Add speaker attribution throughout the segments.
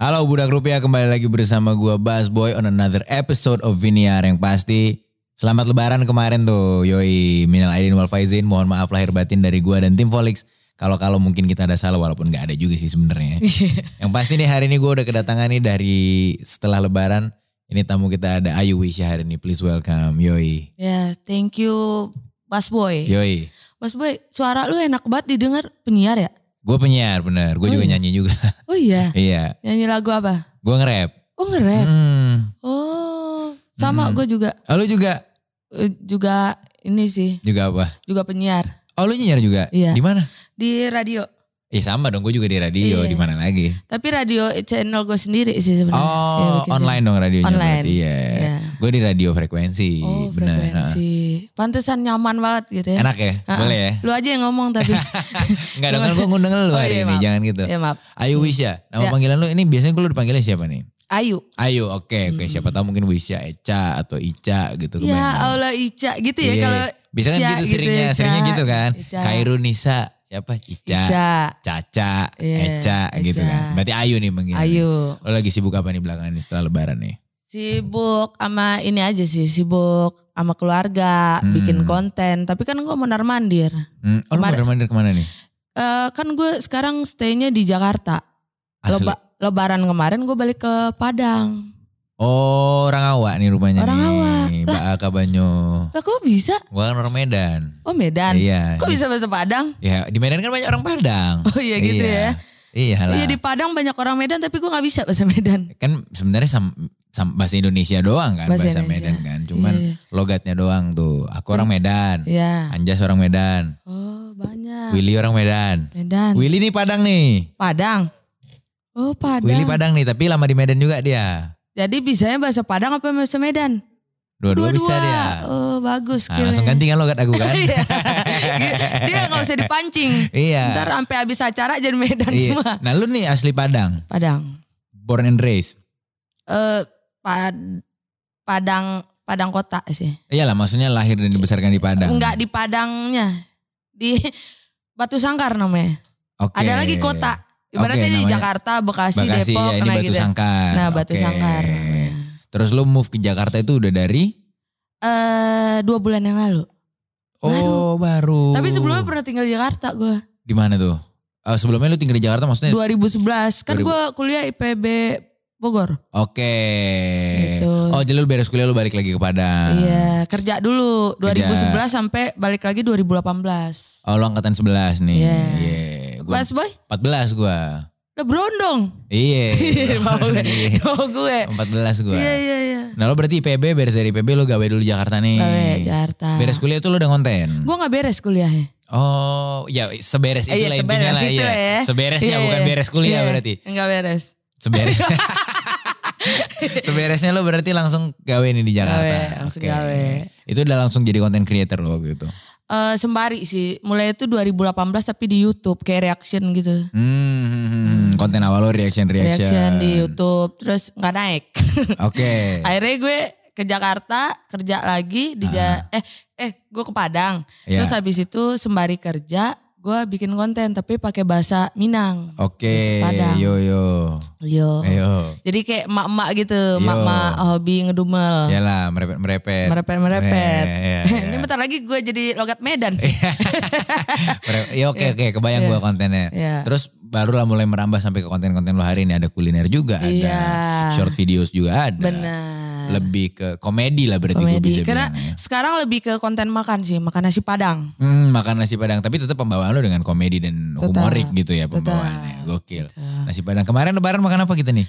Speaker 1: Halo Budak Rupiah, kembali lagi bersama gua Bass Boy on another episode of Viniar yang pasti. Selamat lebaran kemarin tuh, yoi. Minal Aidin wal Faizin, mohon maaf lahir batin dari gua dan tim Folix. Kalau-kalau mungkin kita ada salah walaupun gak ada juga sih sebenarnya. yang pasti nih hari ini gua udah kedatangan nih dari setelah lebaran. Ini tamu kita ada Ayu Wisya hari ini, please welcome, yoi.
Speaker 2: Ya, thank you Mas Boy.
Speaker 1: Yoi,
Speaker 2: Mas Boy, suara lu enak banget didengar penyiar ya?
Speaker 1: gue penyiar bener, gue juga
Speaker 2: Oh.
Speaker 1: nyanyi juga.
Speaker 2: Oh iya,
Speaker 1: iya,
Speaker 2: nyanyi lagu apa?
Speaker 1: gue nge-rap.
Speaker 2: Oh nge-rap.
Speaker 1: Hmm.
Speaker 2: Oh, sama
Speaker 1: Hmm.
Speaker 2: gue juga
Speaker 1: Oh lu juga?
Speaker 2: eh, juga ini sih,
Speaker 1: Juga apa?
Speaker 2: juga penyiar
Speaker 1: Oh lu nyiar juga?
Speaker 2: Iya.
Speaker 1: Di mana?
Speaker 2: di radio.
Speaker 1: Ya sama dong, gue juga di radio,
Speaker 2: Iya.
Speaker 1: di mana lagi?
Speaker 2: Tapi radio channel gue sendiri sih sebenarnya. Ya,
Speaker 1: Oh,
Speaker 2: bikin
Speaker 1: online dong radionya
Speaker 2: Online.
Speaker 1: berarti. Iya.
Speaker 2: sendiri. Ya.
Speaker 1: Gue di radio frekuensi,
Speaker 2: Oh,
Speaker 1: benar.
Speaker 2: frekuensi. Pantesan nyaman banget gitu
Speaker 1: Nah,
Speaker 2: ya.
Speaker 1: Enak ya?
Speaker 2: Ha-ha.
Speaker 1: Boleh ya?
Speaker 2: Lu aja yang ngomong tapi.
Speaker 1: Enggak dong, kan
Speaker 2: Gimana?
Speaker 1: gue ngundang lu
Speaker 2: Oh,
Speaker 1: hari
Speaker 2: iya,
Speaker 1: ini,
Speaker 2: maaf.
Speaker 1: jangan gitu.
Speaker 2: ya maaf.
Speaker 1: Ayu Wisya, nama
Speaker 2: Ya.
Speaker 1: panggilan lu ini biasanya gue lu dipanggilnya siapa nih?
Speaker 2: Ayu.
Speaker 1: Ayu, oke, oke.
Speaker 2: Hmm.
Speaker 1: Siapa tahu mungkin Wisya, Eca atau Ica gitu.
Speaker 2: Ya
Speaker 1: kebanyakan.
Speaker 2: Allah Ica gitu ya
Speaker 1: Iya.
Speaker 2: kalau
Speaker 1: Biasanya kan
Speaker 2: Cia
Speaker 1: gitu seringnya,
Speaker 2: Ica.
Speaker 1: seringnya gitu kan.
Speaker 2: Ica.
Speaker 1: Kairu Nisa, siapa? Ica,
Speaker 2: Ica.
Speaker 1: Caca,
Speaker 2: Iya,
Speaker 1: Eca gitu
Speaker 2: Eca.
Speaker 1: kan. Berarti Ayu nih panggilan.
Speaker 2: Ayo.
Speaker 1: Lo lagi sibuk apa nih belakangan ini setelah lebaran nih?
Speaker 2: Sibuk sama ini aja sih, sibuk sama keluarga,
Speaker 1: Hmm.
Speaker 2: bikin konten. Tapi kan gue mondar mandir.
Speaker 1: Hmm. Oh,
Speaker 2: Kemar-
Speaker 1: lu mandir kemana nih?
Speaker 2: Eh kan gue sekarang staynya di Jakarta.
Speaker 1: Asli.
Speaker 2: Leba- lebaran kemarin gue balik ke Padang.
Speaker 1: Oh, orang awak nih rumahnya
Speaker 2: Orang
Speaker 1: nih.
Speaker 2: Awak.
Speaker 1: Mbak Aka Banyo.
Speaker 2: Lah kok bisa?
Speaker 1: Gua kan orang Medan.
Speaker 2: Oh Medan.
Speaker 1: Iya.
Speaker 2: Kok bisa bahasa Padang?
Speaker 1: Ya, di Medan kan banyak orang Padang.
Speaker 2: Oh iya gitu ya.
Speaker 1: Iya lah.
Speaker 2: Iya di Padang banyak orang Medan tapi gue nggak bisa bahasa Medan.
Speaker 1: Kan sebenarnya sam- sam- bahasa Indonesia doang kan bahasa,
Speaker 2: Bahasa Indonesia.
Speaker 1: Medan kan. Cuman
Speaker 2: Iya,
Speaker 1: logatnya doang tuh. Aku orang Medan.
Speaker 2: Iya.
Speaker 1: Anjas orang Medan.
Speaker 2: Oh banyak.
Speaker 1: Willy orang Medan.
Speaker 2: Medan.
Speaker 1: Willy nih Padang nih.
Speaker 2: Padang. Oh Padang.
Speaker 1: Willy Padang nih, tapi lama di Medan juga dia.
Speaker 2: Jadi bisanya bahasa Padang apa bahasa Medan?
Speaker 1: Dua-dua bisa dia.
Speaker 2: Oh bagus.
Speaker 1: Nah, langsung
Speaker 2: skillnya.
Speaker 1: ganti kan logat aku kan.
Speaker 2: Iya. dia nggak usah dipancing.
Speaker 1: iya.
Speaker 2: Ntar sampai habis acara jadi Medan
Speaker 1: Iya.
Speaker 2: semua.
Speaker 1: Nah lu nih asli Padang,
Speaker 2: Padang.
Speaker 1: born and raised.
Speaker 2: Eh pad- Padang Padang kota sih.
Speaker 1: Iyalah maksudnya lahir dan dibesarkan di Padang.
Speaker 2: Enggak di Padangnya. Di Batu Sangkar namanya.
Speaker 1: Oke.
Speaker 2: Ada lagi kota. Ibaratnya di
Speaker 1: namanya
Speaker 2: Jakarta, Bekasi,
Speaker 1: Bekasi,
Speaker 2: Depok,
Speaker 1: ya, ini
Speaker 2: nah
Speaker 1: Batu
Speaker 2: gitu.
Speaker 1: Sangkar.
Speaker 2: Nah, Batu
Speaker 1: Oke.
Speaker 2: Sangkar. namanya.
Speaker 1: Terus lu move ke Jakarta itu udah dari?
Speaker 2: Eh dua bulan yang lalu.
Speaker 1: Oh baru.
Speaker 2: Tapi sebelumnya pernah tinggal di Jakarta gue.
Speaker 1: Di mana tuh? Eh, sebelumnya lu tinggal di Jakarta maksudnya?
Speaker 2: 2011 kan
Speaker 1: 2000.
Speaker 2: gue kuliah IPB Bogor.
Speaker 1: Oke.
Speaker 2: Gitu.
Speaker 1: Oh jadi lu beres kuliah lu balik lagi ke Padang.
Speaker 2: Iya kerja dulu
Speaker 1: Ah. Kerja.
Speaker 2: 2011 sampai balik lagi 2018.
Speaker 1: Oh lu angkatan 11 nih.
Speaker 2: Iya.
Speaker 1: Iya. Gua
Speaker 2: Mas Boy,
Speaker 1: 14 gua.
Speaker 2: udah berondong.
Speaker 1: Iya.
Speaker 2: Mau gue.
Speaker 1: Iya.
Speaker 2: Mau Oh, gue.
Speaker 1: 14 gua.
Speaker 2: Iya iya iya.
Speaker 1: Nah lo berarti IPB beres dari IPB lo gawe dulu di Jakarta nih.
Speaker 2: Gawe ya. Jakarta.
Speaker 1: Beres kuliah tuh lo udah konten.
Speaker 2: Gue gak beres kuliahnya.
Speaker 1: Oh ya seberes
Speaker 2: Eh, iya,
Speaker 1: itulah
Speaker 2: seberes
Speaker 1: intinya lah.
Speaker 2: itu
Speaker 1: iya.
Speaker 2: lah ya.
Speaker 1: Seberesnya
Speaker 2: Iya,
Speaker 1: bukan
Speaker 2: iya.
Speaker 1: beres kuliah
Speaker 2: Iya,
Speaker 1: berarti.
Speaker 2: Enggak beres.
Speaker 1: Seberes. Seberesnya lo berarti langsung gawe nih di Jakarta.
Speaker 2: Gawe, langsung
Speaker 1: Oke.
Speaker 2: gawe.
Speaker 1: Itu udah langsung jadi konten creator lo waktu itu.
Speaker 2: Eh sembari sih. Mulai itu 2018 tapi di Youtube. Kayak reaction gitu.
Speaker 1: Hmm, hmm, hmm, hmm. konten awal lo reaction reaction.
Speaker 2: Reaction di Youtube. Terus gak naik.
Speaker 1: Oke.
Speaker 2: Akhirnya gue ke Jakarta kerja lagi di Ja- eh eh gue ke Padang.
Speaker 1: Ah. Iya.
Speaker 2: Terus habis itu sembari kerja gue bikin konten tapi pakai bahasa Minang.
Speaker 1: Oke.
Speaker 2: Padang. Oh.
Speaker 1: Yo yo.
Speaker 2: Yo.
Speaker 1: Ayo.
Speaker 2: Jadi kayak emak-emak gitu, emak-emak hobi ngedumel.
Speaker 1: Yalah merepet merepet.
Speaker 2: Merepet-merepet.
Speaker 1: Iya, iya, iya.
Speaker 2: Ini bentar lagi gue jadi logat Medan.
Speaker 1: Pre- ya oke oke kebayang gua kontennya.
Speaker 2: Iya.
Speaker 1: Terus barulah mulai merambah sampai ke konten-konten lo hari ini ada kuliner juga,
Speaker 2: Iya.
Speaker 1: ada short videos juga ada.
Speaker 2: Benar.
Speaker 1: Lebih ke komedi lah berarti gue bisa
Speaker 2: Komedi. Karena
Speaker 1: bilang. ya.
Speaker 2: sekarang lebih ke konten makan sih, makan nasi Padang.
Speaker 1: Hmm, makan nasi Padang tapi tetap pembawaan lo dengan komedi dan
Speaker 2: Tetap,
Speaker 1: humorik gitu ya pembawaannya. Gokil.
Speaker 2: Gitu.
Speaker 1: Nasi Padang kemarin lebaran makan apa kita nih?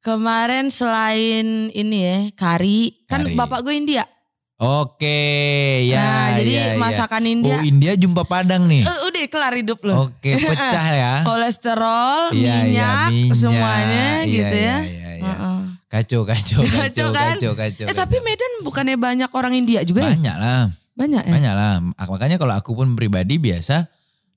Speaker 2: Kemarin selain ini ya, kari, kan
Speaker 1: Kari.
Speaker 2: bapak gue India.
Speaker 1: Oke, ya.
Speaker 2: nah, jadi
Speaker 1: ya, ya.
Speaker 2: masakan India
Speaker 1: Oh, India jumpa Padang nih.
Speaker 2: Eh, udah kelar hidup lo.
Speaker 1: Oke, pecah ya.
Speaker 2: Kolesterol,
Speaker 1: Iya, iya,
Speaker 2: Oh, minyak, semuanya
Speaker 1: Iya,
Speaker 2: gitu
Speaker 1: iya,
Speaker 2: ya.
Speaker 1: iya, iya.
Speaker 2: Heeh.
Speaker 1: Kacau, kacau, kacau,
Speaker 2: Kacau kan?
Speaker 1: kacau, kacau.
Speaker 2: Eh tapi Medan bukannya banyak orang India juga ya?
Speaker 1: banyak lah,
Speaker 2: Banyak ya?
Speaker 1: banyak lah. Ak- Makanya kalau aku pun pribadi biasa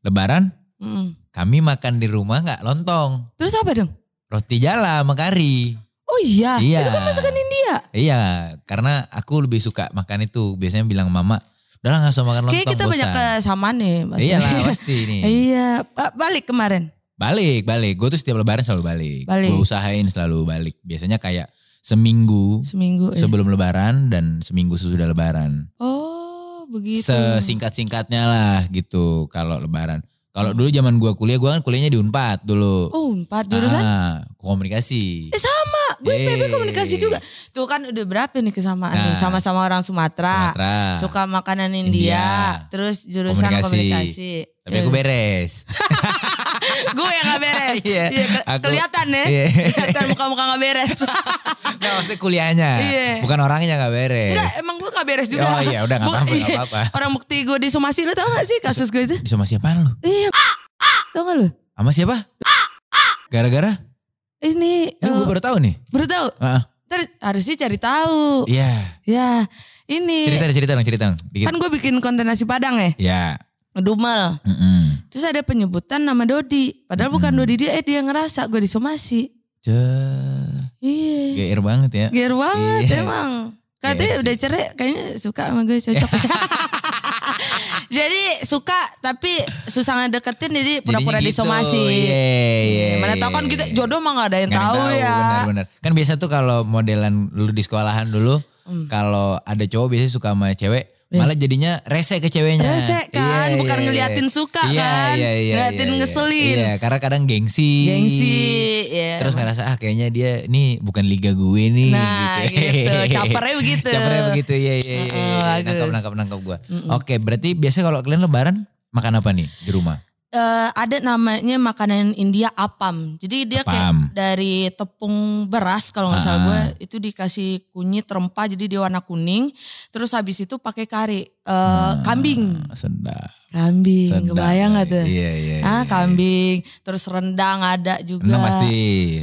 Speaker 1: Lebaran
Speaker 2: Mm.
Speaker 1: kami makan di rumah nggak lontong,
Speaker 2: Terus apa dong?
Speaker 1: roti jala, sama kari.
Speaker 2: Oh iya,
Speaker 1: Iya.
Speaker 2: itu kan masakan India.
Speaker 1: Iya, karena aku lebih suka makan itu. Biasanya bilang mama, udah nggak usah makan lontong.
Speaker 2: Kayaknya kita banyak
Speaker 1: bosan."
Speaker 2: kesamaan nih. Mas.
Speaker 1: Iyalah pasti ini.
Speaker 2: Iya, Ba- balik kemarin.
Speaker 1: Balik, balik. Gue tuh setiap lebaran selalu balik.
Speaker 2: Balik.
Speaker 1: Gue usahain selalu balik. Biasanya kayak seminggu
Speaker 2: Seminggu. Ya?
Speaker 1: sebelum lebaran dan seminggu sesudah lebaran.
Speaker 2: Oh begitu.
Speaker 1: Sesingkat-singkatnya lah gitu kalau lebaran. Kalau dulu zaman gua kuliah, gua kan kuliahnya di Unpad dulu.
Speaker 2: oh empat jurusan.
Speaker 1: Ah, komunikasi.
Speaker 2: Eh sama, gue
Speaker 1: Yeay.
Speaker 2: PB komunikasi juga. Tuh kan udah berapa nih kesamaan nih
Speaker 1: Nah.
Speaker 2: sama-sama orang Sumatera.
Speaker 1: Sumatera.
Speaker 2: Suka makanan India,
Speaker 1: Ah. India.
Speaker 2: terus jurusan
Speaker 1: Komunikasi.
Speaker 2: komunikasi.
Speaker 1: Tapi aku beres.
Speaker 2: gue yang gak beres.
Speaker 1: Iya,
Speaker 2: Iya, ke-
Speaker 1: aku-
Speaker 2: kelihatan ya.
Speaker 1: Iya.
Speaker 2: Kelihatan muka-muka gak beres.
Speaker 1: Nah, maksudnya kuliahnya.
Speaker 2: Iya.
Speaker 1: Bukan orangnya gak beres.
Speaker 2: Enggak, emang gue gak beres juga.
Speaker 1: Oh iya, udah nggak
Speaker 2: Bu-
Speaker 1: apa-apa,
Speaker 2: iya.
Speaker 1: nggak apa-apa.
Speaker 2: Orang bukti gue di Somasi lu tau gak sih kasus gue itu?
Speaker 1: Di Sama siapaan lu?
Speaker 2: Iya. Tau gak lu?
Speaker 1: Sama siapa? Gara-gara?
Speaker 2: Ini
Speaker 1: Ya, gue
Speaker 2: lu
Speaker 1: baru tahu nih.
Speaker 2: baru tau.
Speaker 1: Ah,
Speaker 2: Ntar harusnya cari tahu.
Speaker 1: Iya.
Speaker 2: Ya, ini
Speaker 1: Cerita deh, cerita dong, cerita dong. Dikit.
Speaker 2: kan gue bikin konten nasi Padang ya,
Speaker 1: Ya.
Speaker 2: ngedumel.
Speaker 1: Mm-mm.
Speaker 2: Terus ada penyebutan nama Dodi. Padahal
Speaker 1: Hmm.
Speaker 2: bukan Dodi dia, eh dia ngerasa gue disomasi.
Speaker 1: Ceh,
Speaker 2: Iya.
Speaker 1: Geir banget ya.
Speaker 2: Gear banget
Speaker 1: Iya.
Speaker 2: emang. Katanya
Speaker 1: Iya sih.
Speaker 2: udah cerai, kayaknya suka sama gue cocok. jadi suka tapi susah ngedeketin jadi pura-pura
Speaker 1: Jadinya gitu, Iya,
Speaker 2: disomasi.
Speaker 1: iya.
Speaker 2: Mana tau kan kita jodoh mah gak ada yang
Speaker 1: Nggak ada
Speaker 2: tahu
Speaker 1: yang
Speaker 2: ya.
Speaker 1: Benar-benar. Kan biasa tuh kalau modelan lu di sekolahan dulu,
Speaker 2: Hmm.
Speaker 1: kalau ada cowok biasanya suka sama cewek, malah jadinya rese ke ceweknya.
Speaker 2: Rese Iya. kan,
Speaker 1: Iya,
Speaker 2: bukan
Speaker 1: iya,
Speaker 2: ngeliatin
Speaker 1: iya.
Speaker 2: suka
Speaker 1: Iya,
Speaker 2: kan.
Speaker 1: iya, iya,
Speaker 2: Ngeliatin
Speaker 1: iya, iya.
Speaker 2: ngeselin.
Speaker 1: Iya, karena kadang gengsi.
Speaker 2: Gengsi, iya.
Speaker 1: Terus ngerasa ah kayaknya dia nih bukan liga gue nih.
Speaker 2: Nah, gitu. Capernya begitu.
Speaker 1: Iya. Capernya begitu, iya, iya, iya.
Speaker 2: Mm-mm,
Speaker 1: iya.
Speaker 2: bagus. Hmm.
Speaker 1: nangkap, nangkap, nangkap gue. Oke, berarti biasanya kalau kalian lebaran, makan apa nih di rumah?
Speaker 2: Eh, ada namanya makanan India apam. Jadi dia
Speaker 1: Apam.
Speaker 2: kayak dari tepung beras kalau
Speaker 1: Ah.
Speaker 2: nggak salah gue itu dikasih kunyit rempah jadi dia warna kuning. Terus habis itu pakai kari eh, kambing,
Speaker 1: Ah, Sedap.
Speaker 2: kambing.
Speaker 1: sedap.
Speaker 2: Kebayang nggak tuh?
Speaker 1: Iya, iya, iya.
Speaker 2: Ah kambing. Terus rendang ada juga.
Speaker 1: Renang pasti.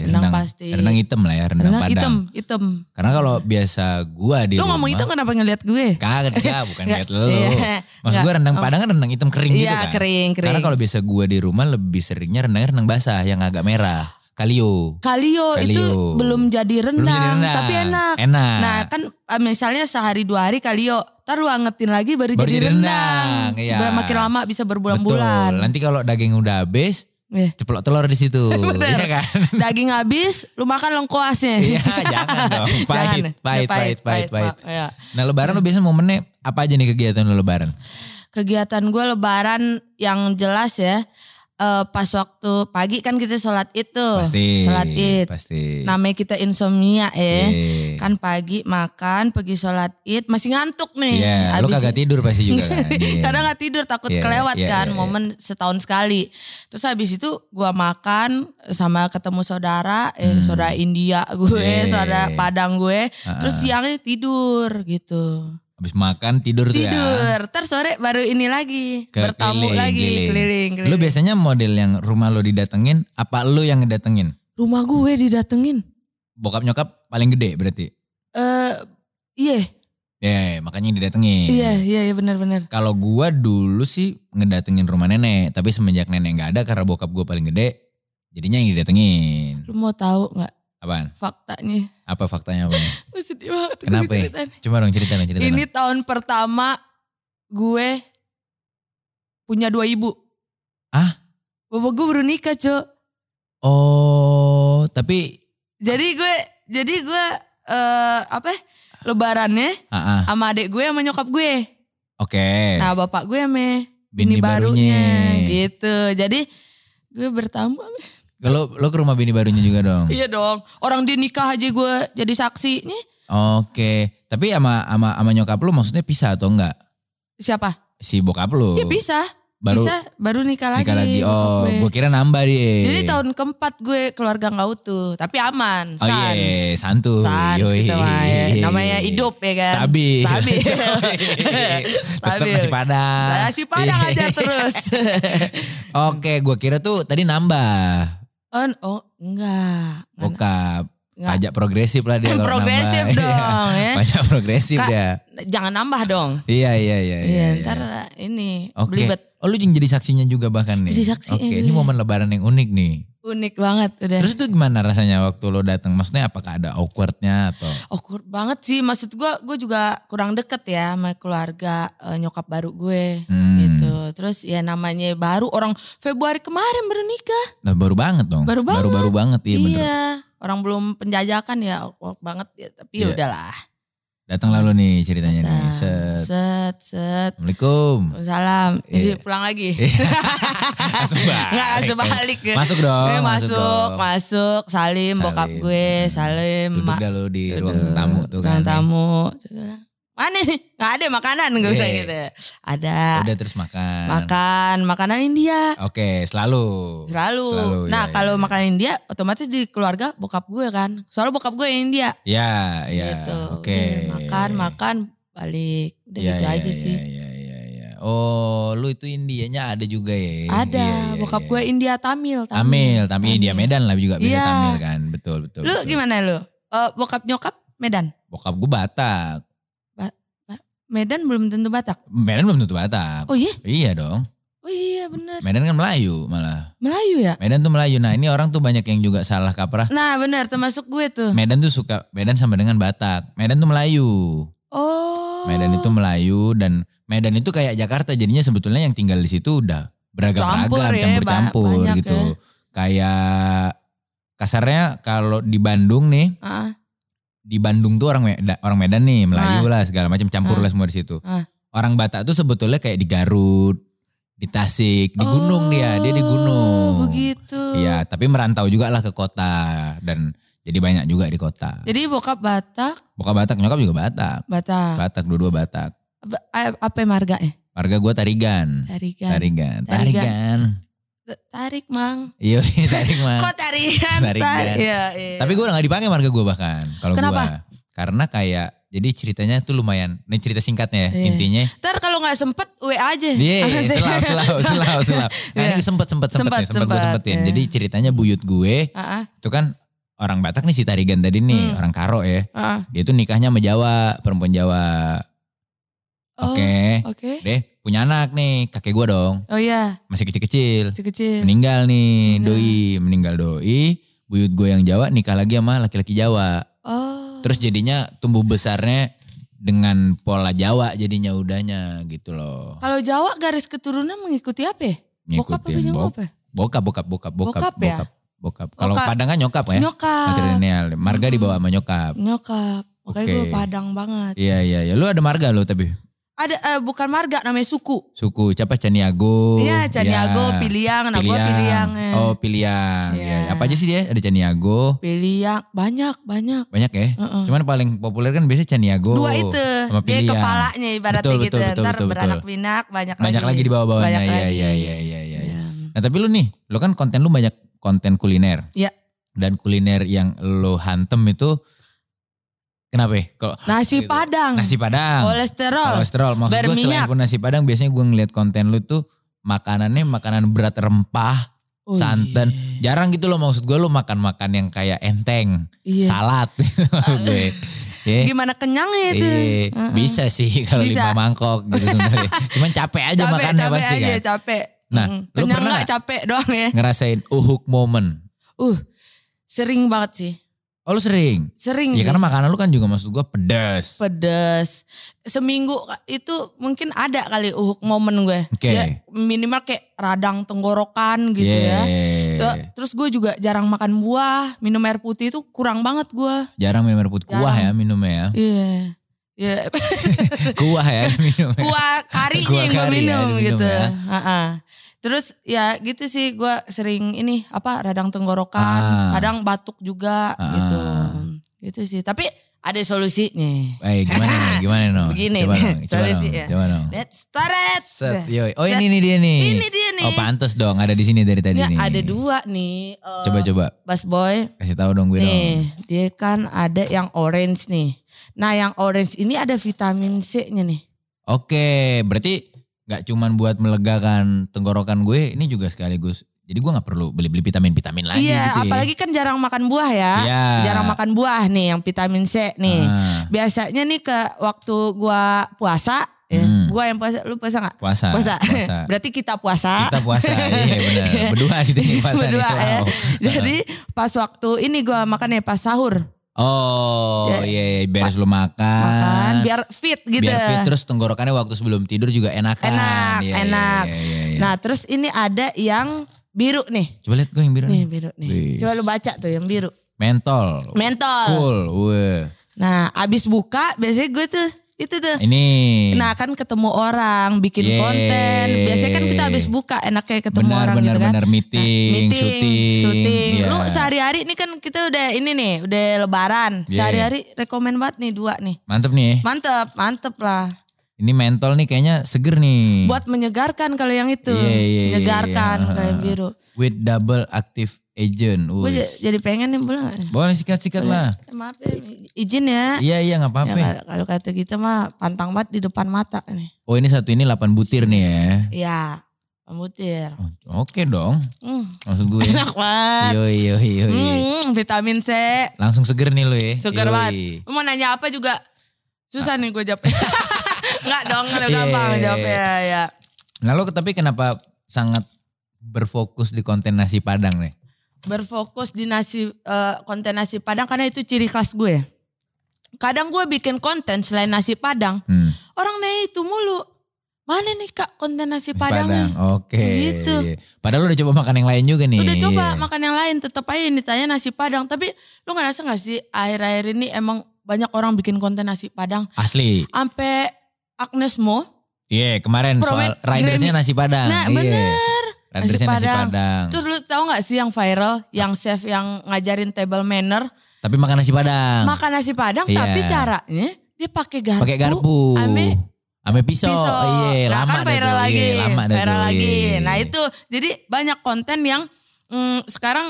Speaker 2: Renang pasti.
Speaker 1: Renang hitam lah ya, rendang,
Speaker 2: Rendang
Speaker 1: padang.
Speaker 2: hitam, hitam.
Speaker 1: Karena kalau biasa gua di rumah.
Speaker 2: Lo ngomong hitam kenapa ngeliat gue?
Speaker 1: Kagak, kagak, bukan
Speaker 2: Nggak,
Speaker 1: lihat lo.
Speaker 2: iya.
Speaker 1: Maksud
Speaker 2: Nggak,
Speaker 1: gua rendang padang kan rendang hitam kering gitu
Speaker 2: Iya,
Speaker 1: kan.
Speaker 2: kering, kering.
Speaker 1: Karena kalau biasa gua di rumah lebih seringnya rendangnya rendang basah yang agak merah. Kalio.
Speaker 2: Kalio, itu
Speaker 1: Kalio.
Speaker 2: belum jadi rendang,
Speaker 1: Belum jadi rendang.
Speaker 2: tapi enak.
Speaker 1: Enak.
Speaker 2: Nah kan eh, misalnya sehari dua hari Kalio, ntar lu angetin lagi baru,
Speaker 1: Baru
Speaker 2: jadi,
Speaker 1: jadi
Speaker 2: rendang.
Speaker 1: rendang, iya.
Speaker 2: Ber- Makin lama bisa
Speaker 1: Betul.
Speaker 2: berbulan-bulan.
Speaker 1: Nanti kalau daging udah habis,
Speaker 2: Iya.
Speaker 1: ceplok telur di situ.
Speaker 2: Bener.
Speaker 1: Iya kan?
Speaker 2: Daging habis, lu makan lengkoasnya.
Speaker 1: Iya, jangan dong. Pahit,
Speaker 2: Jangan.
Speaker 1: pahit, pahit,
Speaker 2: Ya, pahit,
Speaker 1: pahit,
Speaker 2: pahit,
Speaker 1: pahit.
Speaker 2: Pak. Iya.
Speaker 1: Nah lebaran lo biasanya momennya apa aja nih kegiatan lo lebaran?
Speaker 2: Kegiatan gue lebaran yang jelas ya. eh, pas waktu pagi kan kita sholat id tuh.
Speaker 1: Pasti.
Speaker 2: Sholat id.
Speaker 1: Pasti.
Speaker 2: Namanya kita insomnia ya.
Speaker 1: Iya.
Speaker 2: Kan pagi makan, pergi sholat id, masih ngantuk nih.
Speaker 1: Iya, lu
Speaker 2: Habis-
Speaker 1: kagak tidur pasti juga kan. Iya.
Speaker 2: Kadang nggak tidur takut
Speaker 1: Iya,
Speaker 2: kelewat
Speaker 1: iya,
Speaker 2: kan
Speaker 1: iya, iya.
Speaker 2: momen setahun sekali. Terus habis itu gua makan sama ketemu saudara, eh saudara India gue,
Speaker 1: Hmm. Iya. Ah.
Speaker 2: saudara Padang gue. Terus siangnya tidur gitu.
Speaker 1: Habis makan tidur, tuh ya.
Speaker 2: Tidur. Terus sore baru ini lagi,
Speaker 1: Ke-
Speaker 2: bertamu
Speaker 1: keliling,
Speaker 2: lagi,
Speaker 1: keliling.
Speaker 2: keliling,
Speaker 1: Lu
Speaker 2: keliling.
Speaker 1: biasanya model yang rumah lu didatengin apa lu yang ngedatengin?
Speaker 2: Rumah gue didatengin.
Speaker 1: Bokap nyokap paling gede berarti.
Speaker 2: Eh iya,
Speaker 1: Ya, makanya yang didatengin.
Speaker 2: iya, iya, iya benar-benar.
Speaker 1: Kalau gua dulu sih ngedatengin rumah nenek, tapi semenjak nenek nggak ada karena bokap gua paling gede, jadinya yang didatengin.
Speaker 2: Lu mau tahu nggak
Speaker 1: Apaan?
Speaker 2: faktanya?
Speaker 1: Apa faktanya apa? nih?
Speaker 2: Gue sedih banget gue
Speaker 1: Kenapa ya?
Speaker 2: ceritain.
Speaker 1: Coba dong cerita dong cerita.
Speaker 2: Ini
Speaker 1: dong.
Speaker 2: tahun pertama gue punya dua ibu.
Speaker 1: Ah?
Speaker 2: Bapak gue baru nikah, Cok.
Speaker 1: Oh, tapi
Speaker 2: Jadi gue jadi gue eh apa? ya, Lebarannya
Speaker 1: ah, ah,
Speaker 2: sama adik gue sama nyokap gue.
Speaker 1: oke.
Speaker 2: Nah, bapak gue sama
Speaker 1: Eh. Bini barunya.
Speaker 2: gitu. Jadi gue bertamu.
Speaker 1: Kalau lo ke rumah bini barunya juga dong.
Speaker 2: Iya dong. Orang dia nikah aja gue jadi saksi. Nih,
Speaker 1: Oke, tapi sama sama sama nyokap lu maksudnya pisah atau enggak?
Speaker 2: siapa?
Speaker 1: Si bokap lu.
Speaker 2: Iya bisa.
Speaker 1: Oh. Baru
Speaker 2: bisa, baru nikah lagi.
Speaker 1: nikah lagi.
Speaker 2: bokap
Speaker 1: Oh,
Speaker 2: gue.
Speaker 1: gue kira nambah dia.
Speaker 2: Jadi tahun keempat gue keluarga nggak utuh, tapi aman,
Speaker 1: Oh iya,
Speaker 2: sans.
Speaker 1: santuy.
Speaker 2: Sans
Speaker 1: Yoi.
Speaker 2: gitu mah ya. Namanya hidup ya kan.
Speaker 1: Stabil.
Speaker 2: Stabil.
Speaker 1: Tetap
Speaker 2: Stabil.
Speaker 1: nasi padang.
Speaker 2: Nasi padang aja terus.
Speaker 1: Iya. Oke, gue kira tuh tadi nambah
Speaker 2: oh, oh enggak. Enggak.
Speaker 1: bokap.
Speaker 2: Enggak.
Speaker 1: Pajak progresif lah dia kalau nambah.
Speaker 2: Progresif
Speaker 1: Iya.
Speaker 2: dong ya.
Speaker 1: Pajak progresif
Speaker 2: Kak,
Speaker 1: dia.
Speaker 2: Jangan nambah dong.
Speaker 1: Iya, iya, iya. iya,
Speaker 2: Iya,
Speaker 1: iya.
Speaker 2: ntar ini
Speaker 1: Oke.
Speaker 2: belibet
Speaker 1: Oh lu yang jadi saksinya juga bahkan nih.
Speaker 2: Jadi iya. saksinya
Speaker 1: Oke,
Speaker 2: gue.
Speaker 1: ini momen lebaran yang unik nih.
Speaker 2: unik banget udah.
Speaker 1: Terus itu gimana rasanya waktu lo datang? Maksudnya apakah ada awkwardnya atau?
Speaker 2: Awkward banget sih maksud gue gue juga kurang deket ya sama keluarga eh, nyokap baru gue
Speaker 1: Hmm.
Speaker 2: gitu Terus ya namanya baru orang Februari kemarin baru nikah.
Speaker 1: Nah, baru banget dong.
Speaker 2: Baru banget.
Speaker 1: Baru-baru banget, iya, bener.
Speaker 2: iya. Orang belum penjajakan ya awkward banget ya, tapi ya
Speaker 1: Iya.
Speaker 2: udahlah.
Speaker 1: Datang lalu nih ceritanya nih.
Speaker 2: Nah,
Speaker 1: Set.
Speaker 2: set set.
Speaker 1: Assalamualaikum.
Speaker 2: Salam.
Speaker 1: Iya.
Speaker 2: Mesti pulang lagi.
Speaker 1: Langsung balik.
Speaker 2: Enggak langsung balik.
Speaker 1: Masuk dong.
Speaker 2: Gue
Speaker 1: masuk,
Speaker 2: masuk,
Speaker 1: dong.
Speaker 2: masuk, salim, bokap
Speaker 1: Salim.
Speaker 2: gue,
Speaker 1: Hmm.
Speaker 2: salim,
Speaker 1: Duduk
Speaker 2: mak
Speaker 1: dah lu di
Speaker 2: Aduh,
Speaker 1: ruang tamu tuh kan.
Speaker 2: Ruang tamu. Terus gue bilang, Mana nih? Gak ada makanan gue
Speaker 1: Iya.
Speaker 2: bilang gitu. Ada.
Speaker 1: Udah terus makan.
Speaker 2: Makan, makanan India.
Speaker 1: Oke, selalu.
Speaker 2: Selalu.
Speaker 1: Selalu,
Speaker 2: nah
Speaker 1: iya,
Speaker 2: kalau
Speaker 1: iya.
Speaker 2: makanan India otomatis di keluarga bokap gue kan. Soalnya bokap gue yang India.
Speaker 1: Ya, ya.
Speaker 2: Gitu.
Speaker 1: Oke.
Speaker 2: Udah, Makan, makan, balik. Udah
Speaker 1: Ya,
Speaker 2: gitu
Speaker 1: ya,
Speaker 2: aja
Speaker 1: ya,
Speaker 2: sih.
Speaker 1: ya, ya, ya. Oh, lu itu Indianya ada juga ya?
Speaker 2: Ada.
Speaker 1: Iya, iya, iya.
Speaker 2: bokap gue India Tamil.
Speaker 1: Tamil, Tamil, India Medan lah juga beda
Speaker 2: Iya.
Speaker 1: Tamil kan, betul betul.
Speaker 2: Lu
Speaker 1: betul.
Speaker 2: gimana lu? Eh, bokap nyokap Medan.
Speaker 1: Bokap gue Batak,
Speaker 2: Medan belum tentu Batak.
Speaker 1: Medan belum tentu Batak.
Speaker 2: Oh iya,
Speaker 1: Iya dong,
Speaker 2: oh iya bener.
Speaker 1: Medan kan Melayu malah.
Speaker 2: Melayu ya?
Speaker 1: Medan tuh Melayu. Nah ini orang tuh banyak yang juga salah kaprah.
Speaker 2: Nah bener termasuk gue tuh.
Speaker 1: Medan tuh suka Medan sama dengan Batak. Medan tuh Melayu.
Speaker 2: Oh.
Speaker 1: Medan itu Melayu dan Medan itu kayak Jakarta jadinya sebetulnya yang tinggal di situ udah beragam-beragam,
Speaker 2: Campur ya,
Speaker 1: campur-campur
Speaker 2: ba- banyak
Speaker 1: gitu. Kayak kasarnya kalau di Bandung nih,
Speaker 2: Ah,
Speaker 1: di Bandung tuh orang Medan, orang Medan nih Melayu lah segala macam campur
Speaker 2: Ah.
Speaker 1: lah semua di situ.
Speaker 2: Ah.
Speaker 1: Orang Batak tuh sebetulnya kayak di Garut, di Tasik, di gunung dia, dia di
Speaker 2: Oh,
Speaker 1: gunung.
Speaker 2: Begitu.
Speaker 1: Iya, tapi merantau juga lah ke kota dan jadi banyak juga di kota.
Speaker 2: Jadi bokap Batak,
Speaker 1: Bukan Batak, nyokap juga Batak.
Speaker 2: Batak.
Speaker 1: Batak dua-dua Batak.
Speaker 2: Ba- a- Apa marga ya?
Speaker 1: Marga gue Tarigan.
Speaker 2: Tarikan.
Speaker 1: Tarigan.
Speaker 2: Tarigan.
Speaker 1: Tarigan.
Speaker 2: T- Tarik, Mang.
Speaker 1: Iya, Tarik mah.
Speaker 2: Kok tarikan?
Speaker 1: Tarikan.
Speaker 2: Tar- Iya, iya.
Speaker 1: Tapi gue udah gak dipakai marga gue bahkan. Kalau
Speaker 2: Kenapa?
Speaker 1: gua. Karena kayak jadi ceritanya tuh lumayan. Ini cerita singkatnya ya.
Speaker 2: Iya.
Speaker 1: Intinya
Speaker 2: Ntar kalau nggak sempet, WA aja.
Speaker 1: Iya,
Speaker 2: Apa sih? Iya.
Speaker 1: selap, selap, selap, selap. Nah, ini sempet, sempet, sempet,
Speaker 2: Sempet,
Speaker 1: nih, sempet, gue
Speaker 2: sempet,
Speaker 1: sempetin.
Speaker 2: iya.
Speaker 1: Jadi ceritanya buyut gue,
Speaker 2: Ah, ah,
Speaker 1: itu kan orang Batak nih si Tarigan tadi nih,
Speaker 2: Hmm.
Speaker 1: orang Karo ya.
Speaker 2: ah, ah.
Speaker 1: Dia tuh nikahnya sama Jawa, perempuan Jawa.
Speaker 2: Oh,
Speaker 1: Oke,
Speaker 2: Oke.
Speaker 1: deh punya anak nih, kakek gue dong,
Speaker 2: Oh iya,
Speaker 1: masih kecil-kecil. Iya.
Speaker 2: kecil-kecil.
Speaker 1: Meninggal nih,
Speaker 2: Meninggal.
Speaker 1: doi, meninggal doi. Buyut gue yang Jawa nikah lagi sama laki-laki Jawa.
Speaker 2: Oh.
Speaker 1: Terus jadinya tumbuh besarnya dengan pola Jawa jadinya udahnya gitu loh.
Speaker 2: Kalau Jawa garis keturunan mengikuti apa ya? Bokap apa
Speaker 1: Ngikutin
Speaker 2: nyokap ya?
Speaker 1: Bokap, bokap, bokap, bokap,
Speaker 2: Bokap ya?
Speaker 1: bokap. Kalau
Speaker 2: Bokap.
Speaker 1: Padang kan nyokap ya?
Speaker 2: Nyokap. Hmm.
Speaker 1: Matrilineal. Marga
Speaker 2: Mm-mm.
Speaker 1: dibawa sama nyokap.
Speaker 2: Nyokap. Makanya
Speaker 1: Oke.
Speaker 2: gue padang banget.
Speaker 1: Iya, iya, iya. Lu ada marga lu tapi?
Speaker 2: Ada eh, bukan marga namanya suku.
Speaker 1: Suku, siapa? Caniago.
Speaker 2: Iya, Caniago,
Speaker 1: Oh, Iya.
Speaker 2: Piliang, nah gue Piliang. eh.
Speaker 1: Oh, Piliang. Iya,
Speaker 2: Iya.
Speaker 1: iya. Apa aja sih dia? Ada Caniago.
Speaker 2: Piliang banyak banyak.
Speaker 1: Banyak ya?
Speaker 2: Heeh.
Speaker 1: Cuman paling populer kan biasanya Caniago.
Speaker 2: Dua itu,
Speaker 1: sama Oh,
Speaker 2: dia
Speaker 1: Piliang.
Speaker 2: kepalanya ibaratnya
Speaker 1: Betul,
Speaker 2: gitu.
Speaker 1: betul, betul,
Speaker 2: Ntar
Speaker 1: betul, betul.
Speaker 2: beranak pinak banyak,
Speaker 1: Banyak lagi di bawah-bawahnya.
Speaker 2: Banyak
Speaker 1: Iya,
Speaker 2: lagi.
Speaker 1: iya, iya, iya, iya.
Speaker 2: Iya.
Speaker 1: Nah tapi lu nih, lu kan konten lu banyak konten kuliner.
Speaker 2: Iya.
Speaker 1: Dan kuliner yang lu hantem itu kenapa ya? Kalau
Speaker 2: Nasi
Speaker 1: Gitu.
Speaker 2: padang,
Speaker 1: nasi padang,
Speaker 2: Hmm. kolesterol,
Speaker 1: kolesterol. Maksud gue selain
Speaker 2: berminyak.
Speaker 1: pun nasi padang, biasanya gue ngeliat konten lu tuh makanannya makanan berat rempah,
Speaker 2: Oh,
Speaker 1: santan. Jarang gitu loh maksud gue lu makan-makan yang kayak enteng,
Speaker 2: Iya.
Speaker 1: salad. Gitu. Maksud gue. Iya.
Speaker 2: Gimana kenyangnya itu?
Speaker 1: Iya,
Speaker 2: Heeh.
Speaker 1: bisa sih kalau
Speaker 2: Bisa.
Speaker 1: lima mangkok gitu sebenarnya. Cuman capek aja
Speaker 2: capek,
Speaker 1: makannya
Speaker 2: capek
Speaker 1: pasti
Speaker 2: aja,
Speaker 1: kan.
Speaker 2: capek.
Speaker 1: Nah,
Speaker 2: Mm-mm.
Speaker 1: lu
Speaker 2: kenyang
Speaker 1: pernah
Speaker 2: nggak capek doang ya?
Speaker 1: Ngerasain uhuk moment.
Speaker 2: Uh, sering banget sih,
Speaker 1: Oh lu sering?
Speaker 2: sering.
Speaker 1: Ya
Speaker 2: sih.
Speaker 1: karena makanan lu kan juga maksud gua pedas.
Speaker 2: pedes. Seminggu itu mungkin ada kali uhuk momen gue.
Speaker 1: Oke.
Speaker 2: Ya, minimal kayak radang tenggorokan gitu
Speaker 1: Iya,
Speaker 2: ya. Tuh, Terus gue juga jarang makan buah, minum air putih itu kurang banget gue.
Speaker 1: Jarang minum air putih. Kuah ya
Speaker 2: Jarang.
Speaker 1: minumnya ya.
Speaker 2: Iya. Iya,
Speaker 1: Kuah ya minumnya.
Speaker 2: kuah karinya
Speaker 1: Kuah
Speaker 2: yang
Speaker 1: kari
Speaker 2: gue
Speaker 1: ya,
Speaker 2: minum
Speaker 1: diminum
Speaker 2: gitu.
Speaker 1: ya.
Speaker 2: Ha-ha. Terus ya gitu sih gue sering ini apa
Speaker 1: Ah.
Speaker 2: radang tenggorokan, kadang batuk juga
Speaker 1: Ah.
Speaker 2: gitu. Gitu sih. Tapi ada solusinya.
Speaker 1: Eh gimana nih? Gimana no?
Speaker 2: Begini
Speaker 1: coba
Speaker 2: nih,
Speaker 1: dong, coba dong,
Speaker 2: solusinya.
Speaker 1: coba dong.
Speaker 2: Let's start it.
Speaker 1: Set, yoi. Oh
Speaker 2: Set.
Speaker 1: ini nih dia nih.
Speaker 2: Ini dia nih.
Speaker 1: Oh pantes dong ada di sini dari tadi
Speaker 2: Ini
Speaker 1: nih.
Speaker 2: ada dua nih. eh,
Speaker 1: Coba coba
Speaker 2: Bas Boy.
Speaker 1: kasih tahu dong gue dong.
Speaker 2: Nih, dia kan ada yang orange nih. Nah, yang orange ini ada vitamin C-nya nih.
Speaker 1: Oke, berarti nggak cuman buat melegakan tenggorokan gue, ini juga sekaligus. Jadi gue nggak perlu beli-beli vitamin-vitamin lagi
Speaker 2: iya,
Speaker 1: gitu. ya.
Speaker 2: apalagi kan jarang makan buah ya.
Speaker 1: Iya.
Speaker 2: Jarang makan buah nih yang vitamin C nih.
Speaker 1: Ah,
Speaker 2: Biasanya nih ke waktu gua puasa, ya,
Speaker 1: Hmm.
Speaker 2: gua yang puasa, lu puasa nggak?
Speaker 1: puasa.
Speaker 2: Puasa.
Speaker 1: puasa.
Speaker 2: Berarti kita puasa.
Speaker 1: Kita puasa, iya benar. Berdua di sini puasa di
Speaker 2: Berdua ya.
Speaker 1: Salau.
Speaker 2: Jadi pas waktu ini gua makan ya pas sahur.
Speaker 1: Oh
Speaker 2: Ya,
Speaker 1: iya, iya. beres lu makan.
Speaker 2: makan biar fit gitu.
Speaker 1: Biar fit terus tenggorokannya waktu sebelum tidur juga enakan.
Speaker 2: Enak,
Speaker 1: Iya, iya,
Speaker 2: enak.
Speaker 1: iya, iya, iya.
Speaker 2: Nah terus ini ada yang biru nih.
Speaker 1: Coba lihat gue yang biru.
Speaker 2: Nih
Speaker 1: nih.
Speaker 2: biru nih.
Speaker 1: Wih.
Speaker 2: Coba lu baca tuh yang biru.
Speaker 1: Mentol.
Speaker 2: Mentol.
Speaker 1: Cool. Weh.
Speaker 2: Nah abis buka biasanya gue tuh itu tuh.
Speaker 1: Ini.
Speaker 2: Nah kan ketemu orang, bikin
Speaker 1: Iya. Yeay.
Speaker 2: konten. Biasanya kan kita habis buka enaknya ketemu
Speaker 1: benar
Speaker 2: orang
Speaker 1: benar
Speaker 2: gitu kan.
Speaker 1: benar
Speaker 2: Nah,
Speaker 1: meeting, syuting.
Speaker 2: syuting.
Speaker 1: Iya.
Speaker 2: Lu sehari-hari ini kan kita udah ini nih, udah lebaran.
Speaker 1: Iya.
Speaker 2: Sehari-hari rekomen banget nih dua nih.
Speaker 1: Mantep nih.
Speaker 2: Mantep, mantep lah.
Speaker 1: Ini mentol nih kayaknya seger nih.
Speaker 2: Buat menyegarkan kalau yang itu.
Speaker 1: Hmm. Iya, iya, iya,
Speaker 2: menyegarkan
Speaker 1: iya.
Speaker 2: kalau yang biru.
Speaker 1: with double active agent.
Speaker 2: Gue
Speaker 1: Wih.
Speaker 2: j- jadi pengen nih boleh gak nih?
Speaker 1: Boleh sikat-sikat lah.
Speaker 2: Eh, Maaf ya, izin ya.
Speaker 1: Iya iya nggak
Speaker 2: Ya,
Speaker 1: apa-apa.
Speaker 2: kalau- kalau kata kita mah pantang banget di depan mata nih.
Speaker 1: Oh ini satu ini 8 butir nih ya.
Speaker 2: Iya, pembutir.
Speaker 1: Oh, Oke dong.
Speaker 2: Hmm,
Speaker 1: Maksud gue.
Speaker 2: enak banget.
Speaker 1: Yoi yoi yoi.
Speaker 2: Hmm, vitamin C.
Speaker 1: Langsung seger nih lo ya. Yoi.
Speaker 2: Seger banget. Lu Mau nanya apa juga susah nih gue jawab. Enggak dong, nggak
Speaker 1: Iya,
Speaker 2: gampang
Speaker 1: iya, iya.
Speaker 2: jawabnya ya.
Speaker 1: Nah lo tapi kenapa sangat berfokus di konten nasi padang nih?
Speaker 2: Berfokus di nasi eh, konten nasi Padang karena itu ciri khas gue. Kadang gue bikin konten selain nasi Padang,
Speaker 1: Hmm,
Speaker 2: orang nanya itu mulu. Mana nih Kak konten nasi,
Speaker 1: nasi
Speaker 2: Padangnya?
Speaker 1: Oke.
Speaker 2: Gitu.
Speaker 1: iya. Padahal lo udah coba makan yang lain juga nih.
Speaker 2: Udah coba
Speaker 1: Iya.
Speaker 2: makan yang lain, tetap aja yang ditanya nasi Padang. Tapi lu ngerasa gak sih akhir-akhir ini emang banyak orang bikin konten nasi Padang.
Speaker 1: Asli.
Speaker 2: Sampai Agnes Mo.
Speaker 1: Iya kemarin soal
Speaker 2: Promen-
Speaker 1: Rindersnya nasi padang. Iya.
Speaker 2: Nah bener.
Speaker 1: Rindersnya nasi
Speaker 2: Nasi
Speaker 1: padang.
Speaker 2: Padang.
Speaker 1: Hmm.
Speaker 2: Terus lu tau gak sih yang viral, yang chef yang ngajarin table manner,
Speaker 1: Tapi makan nasi padang.
Speaker 2: makan nasi padang
Speaker 1: Hmm. Iya.
Speaker 2: tapi caranya dia pakai garpu.
Speaker 1: pakai garpu
Speaker 2: Ame
Speaker 1: ame pisau,
Speaker 2: pisau.
Speaker 1: iya
Speaker 2: nah,
Speaker 1: lama
Speaker 2: kan
Speaker 1: dah
Speaker 2: viral
Speaker 1: tuh.
Speaker 2: lagi.
Speaker 1: Iya, lama dah
Speaker 2: viral
Speaker 1: tuh,
Speaker 2: lagi.
Speaker 1: iya.
Speaker 2: Nah itu jadi banyak konten yang mm, sekarang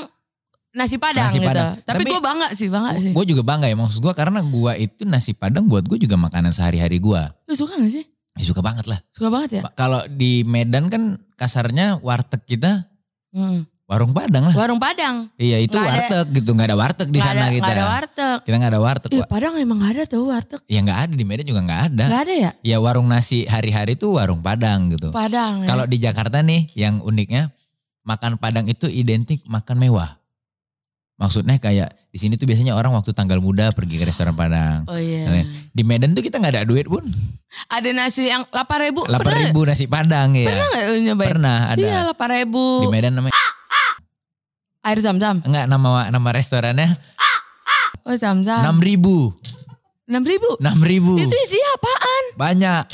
Speaker 2: nasi padang
Speaker 1: Nasi
Speaker 2: gitu.
Speaker 1: Padang.
Speaker 2: Tapi,
Speaker 1: Tapi-
Speaker 2: gue bangga sih, bangga sih.
Speaker 1: gue juga bangga ya maksud gue karena gue itu nasi padang buat gue juga makanan sehari-hari gue
Speaker 2: Lu suka gak sih?
Speaker 1: ya, suka banget lah
Speaker 2: Suka banget ya?
Speaker 1: kalau di Medan kan kasarnya warteg kita
Speaker 2: Hmm.
Speaker 1: warung padang lah
Speaker 2: Warung Padang.
Speaker 1: iya itu
Speaker 2: Nggak ada-
Speaker 1: warteg gitu nggak ada warteg di
Speaker 2: Nggak
Speaker 1: sana gitu ya?
Speaker 2: ada,
Speaker 1: kita
Speaker 2: nggak ada warteg.
Speaker 1: kita nggak ada warteg
Speaker 2: Ih
Speaker 1: Wak.
Speaker 2: Padang emang nggak ada tuh warteg.
Speaker 1: ya nggak ada di Medan juga nggak ada
Speaker 2: Gak ada ya?
Speaker 1: ya warung nasi hari-hari itu warung padang gitu
Speaker 2: Padang ya?
Speaker 1: kalau di Jakarta nih yang uniknya makan padang itu identik makan mewah. Maksudnya kayak di sini tuh biasanya orang waktu tanggal muda pergi ke restoran padang.
Speaker 2: Oh iya.
Speaker 1: Kalian. Di Medan tuh kita nggak ada duit pun.
Speaker 2: Ada nasi yang 8 ribu.
Speaker 1: Delapan ribu nasi padang ya.
Speaker 2: Pernah gak lu nyobain?
Speaker 1: Pernah ada
Speaker 2: Iya 8 ribu.
Speaker 1: di Medan namanya
Speaker 2: Air zam-zam.
Speaker 1: enggak nama nama restorannya
Speaker 2: Oh zam-zam.
Speaker 1: enam ribu
Speaker 2: 6 ribu.
Speaker 1: enam ribu
Speaker 2: Itu isi apaan?
Speaker 1: banyak.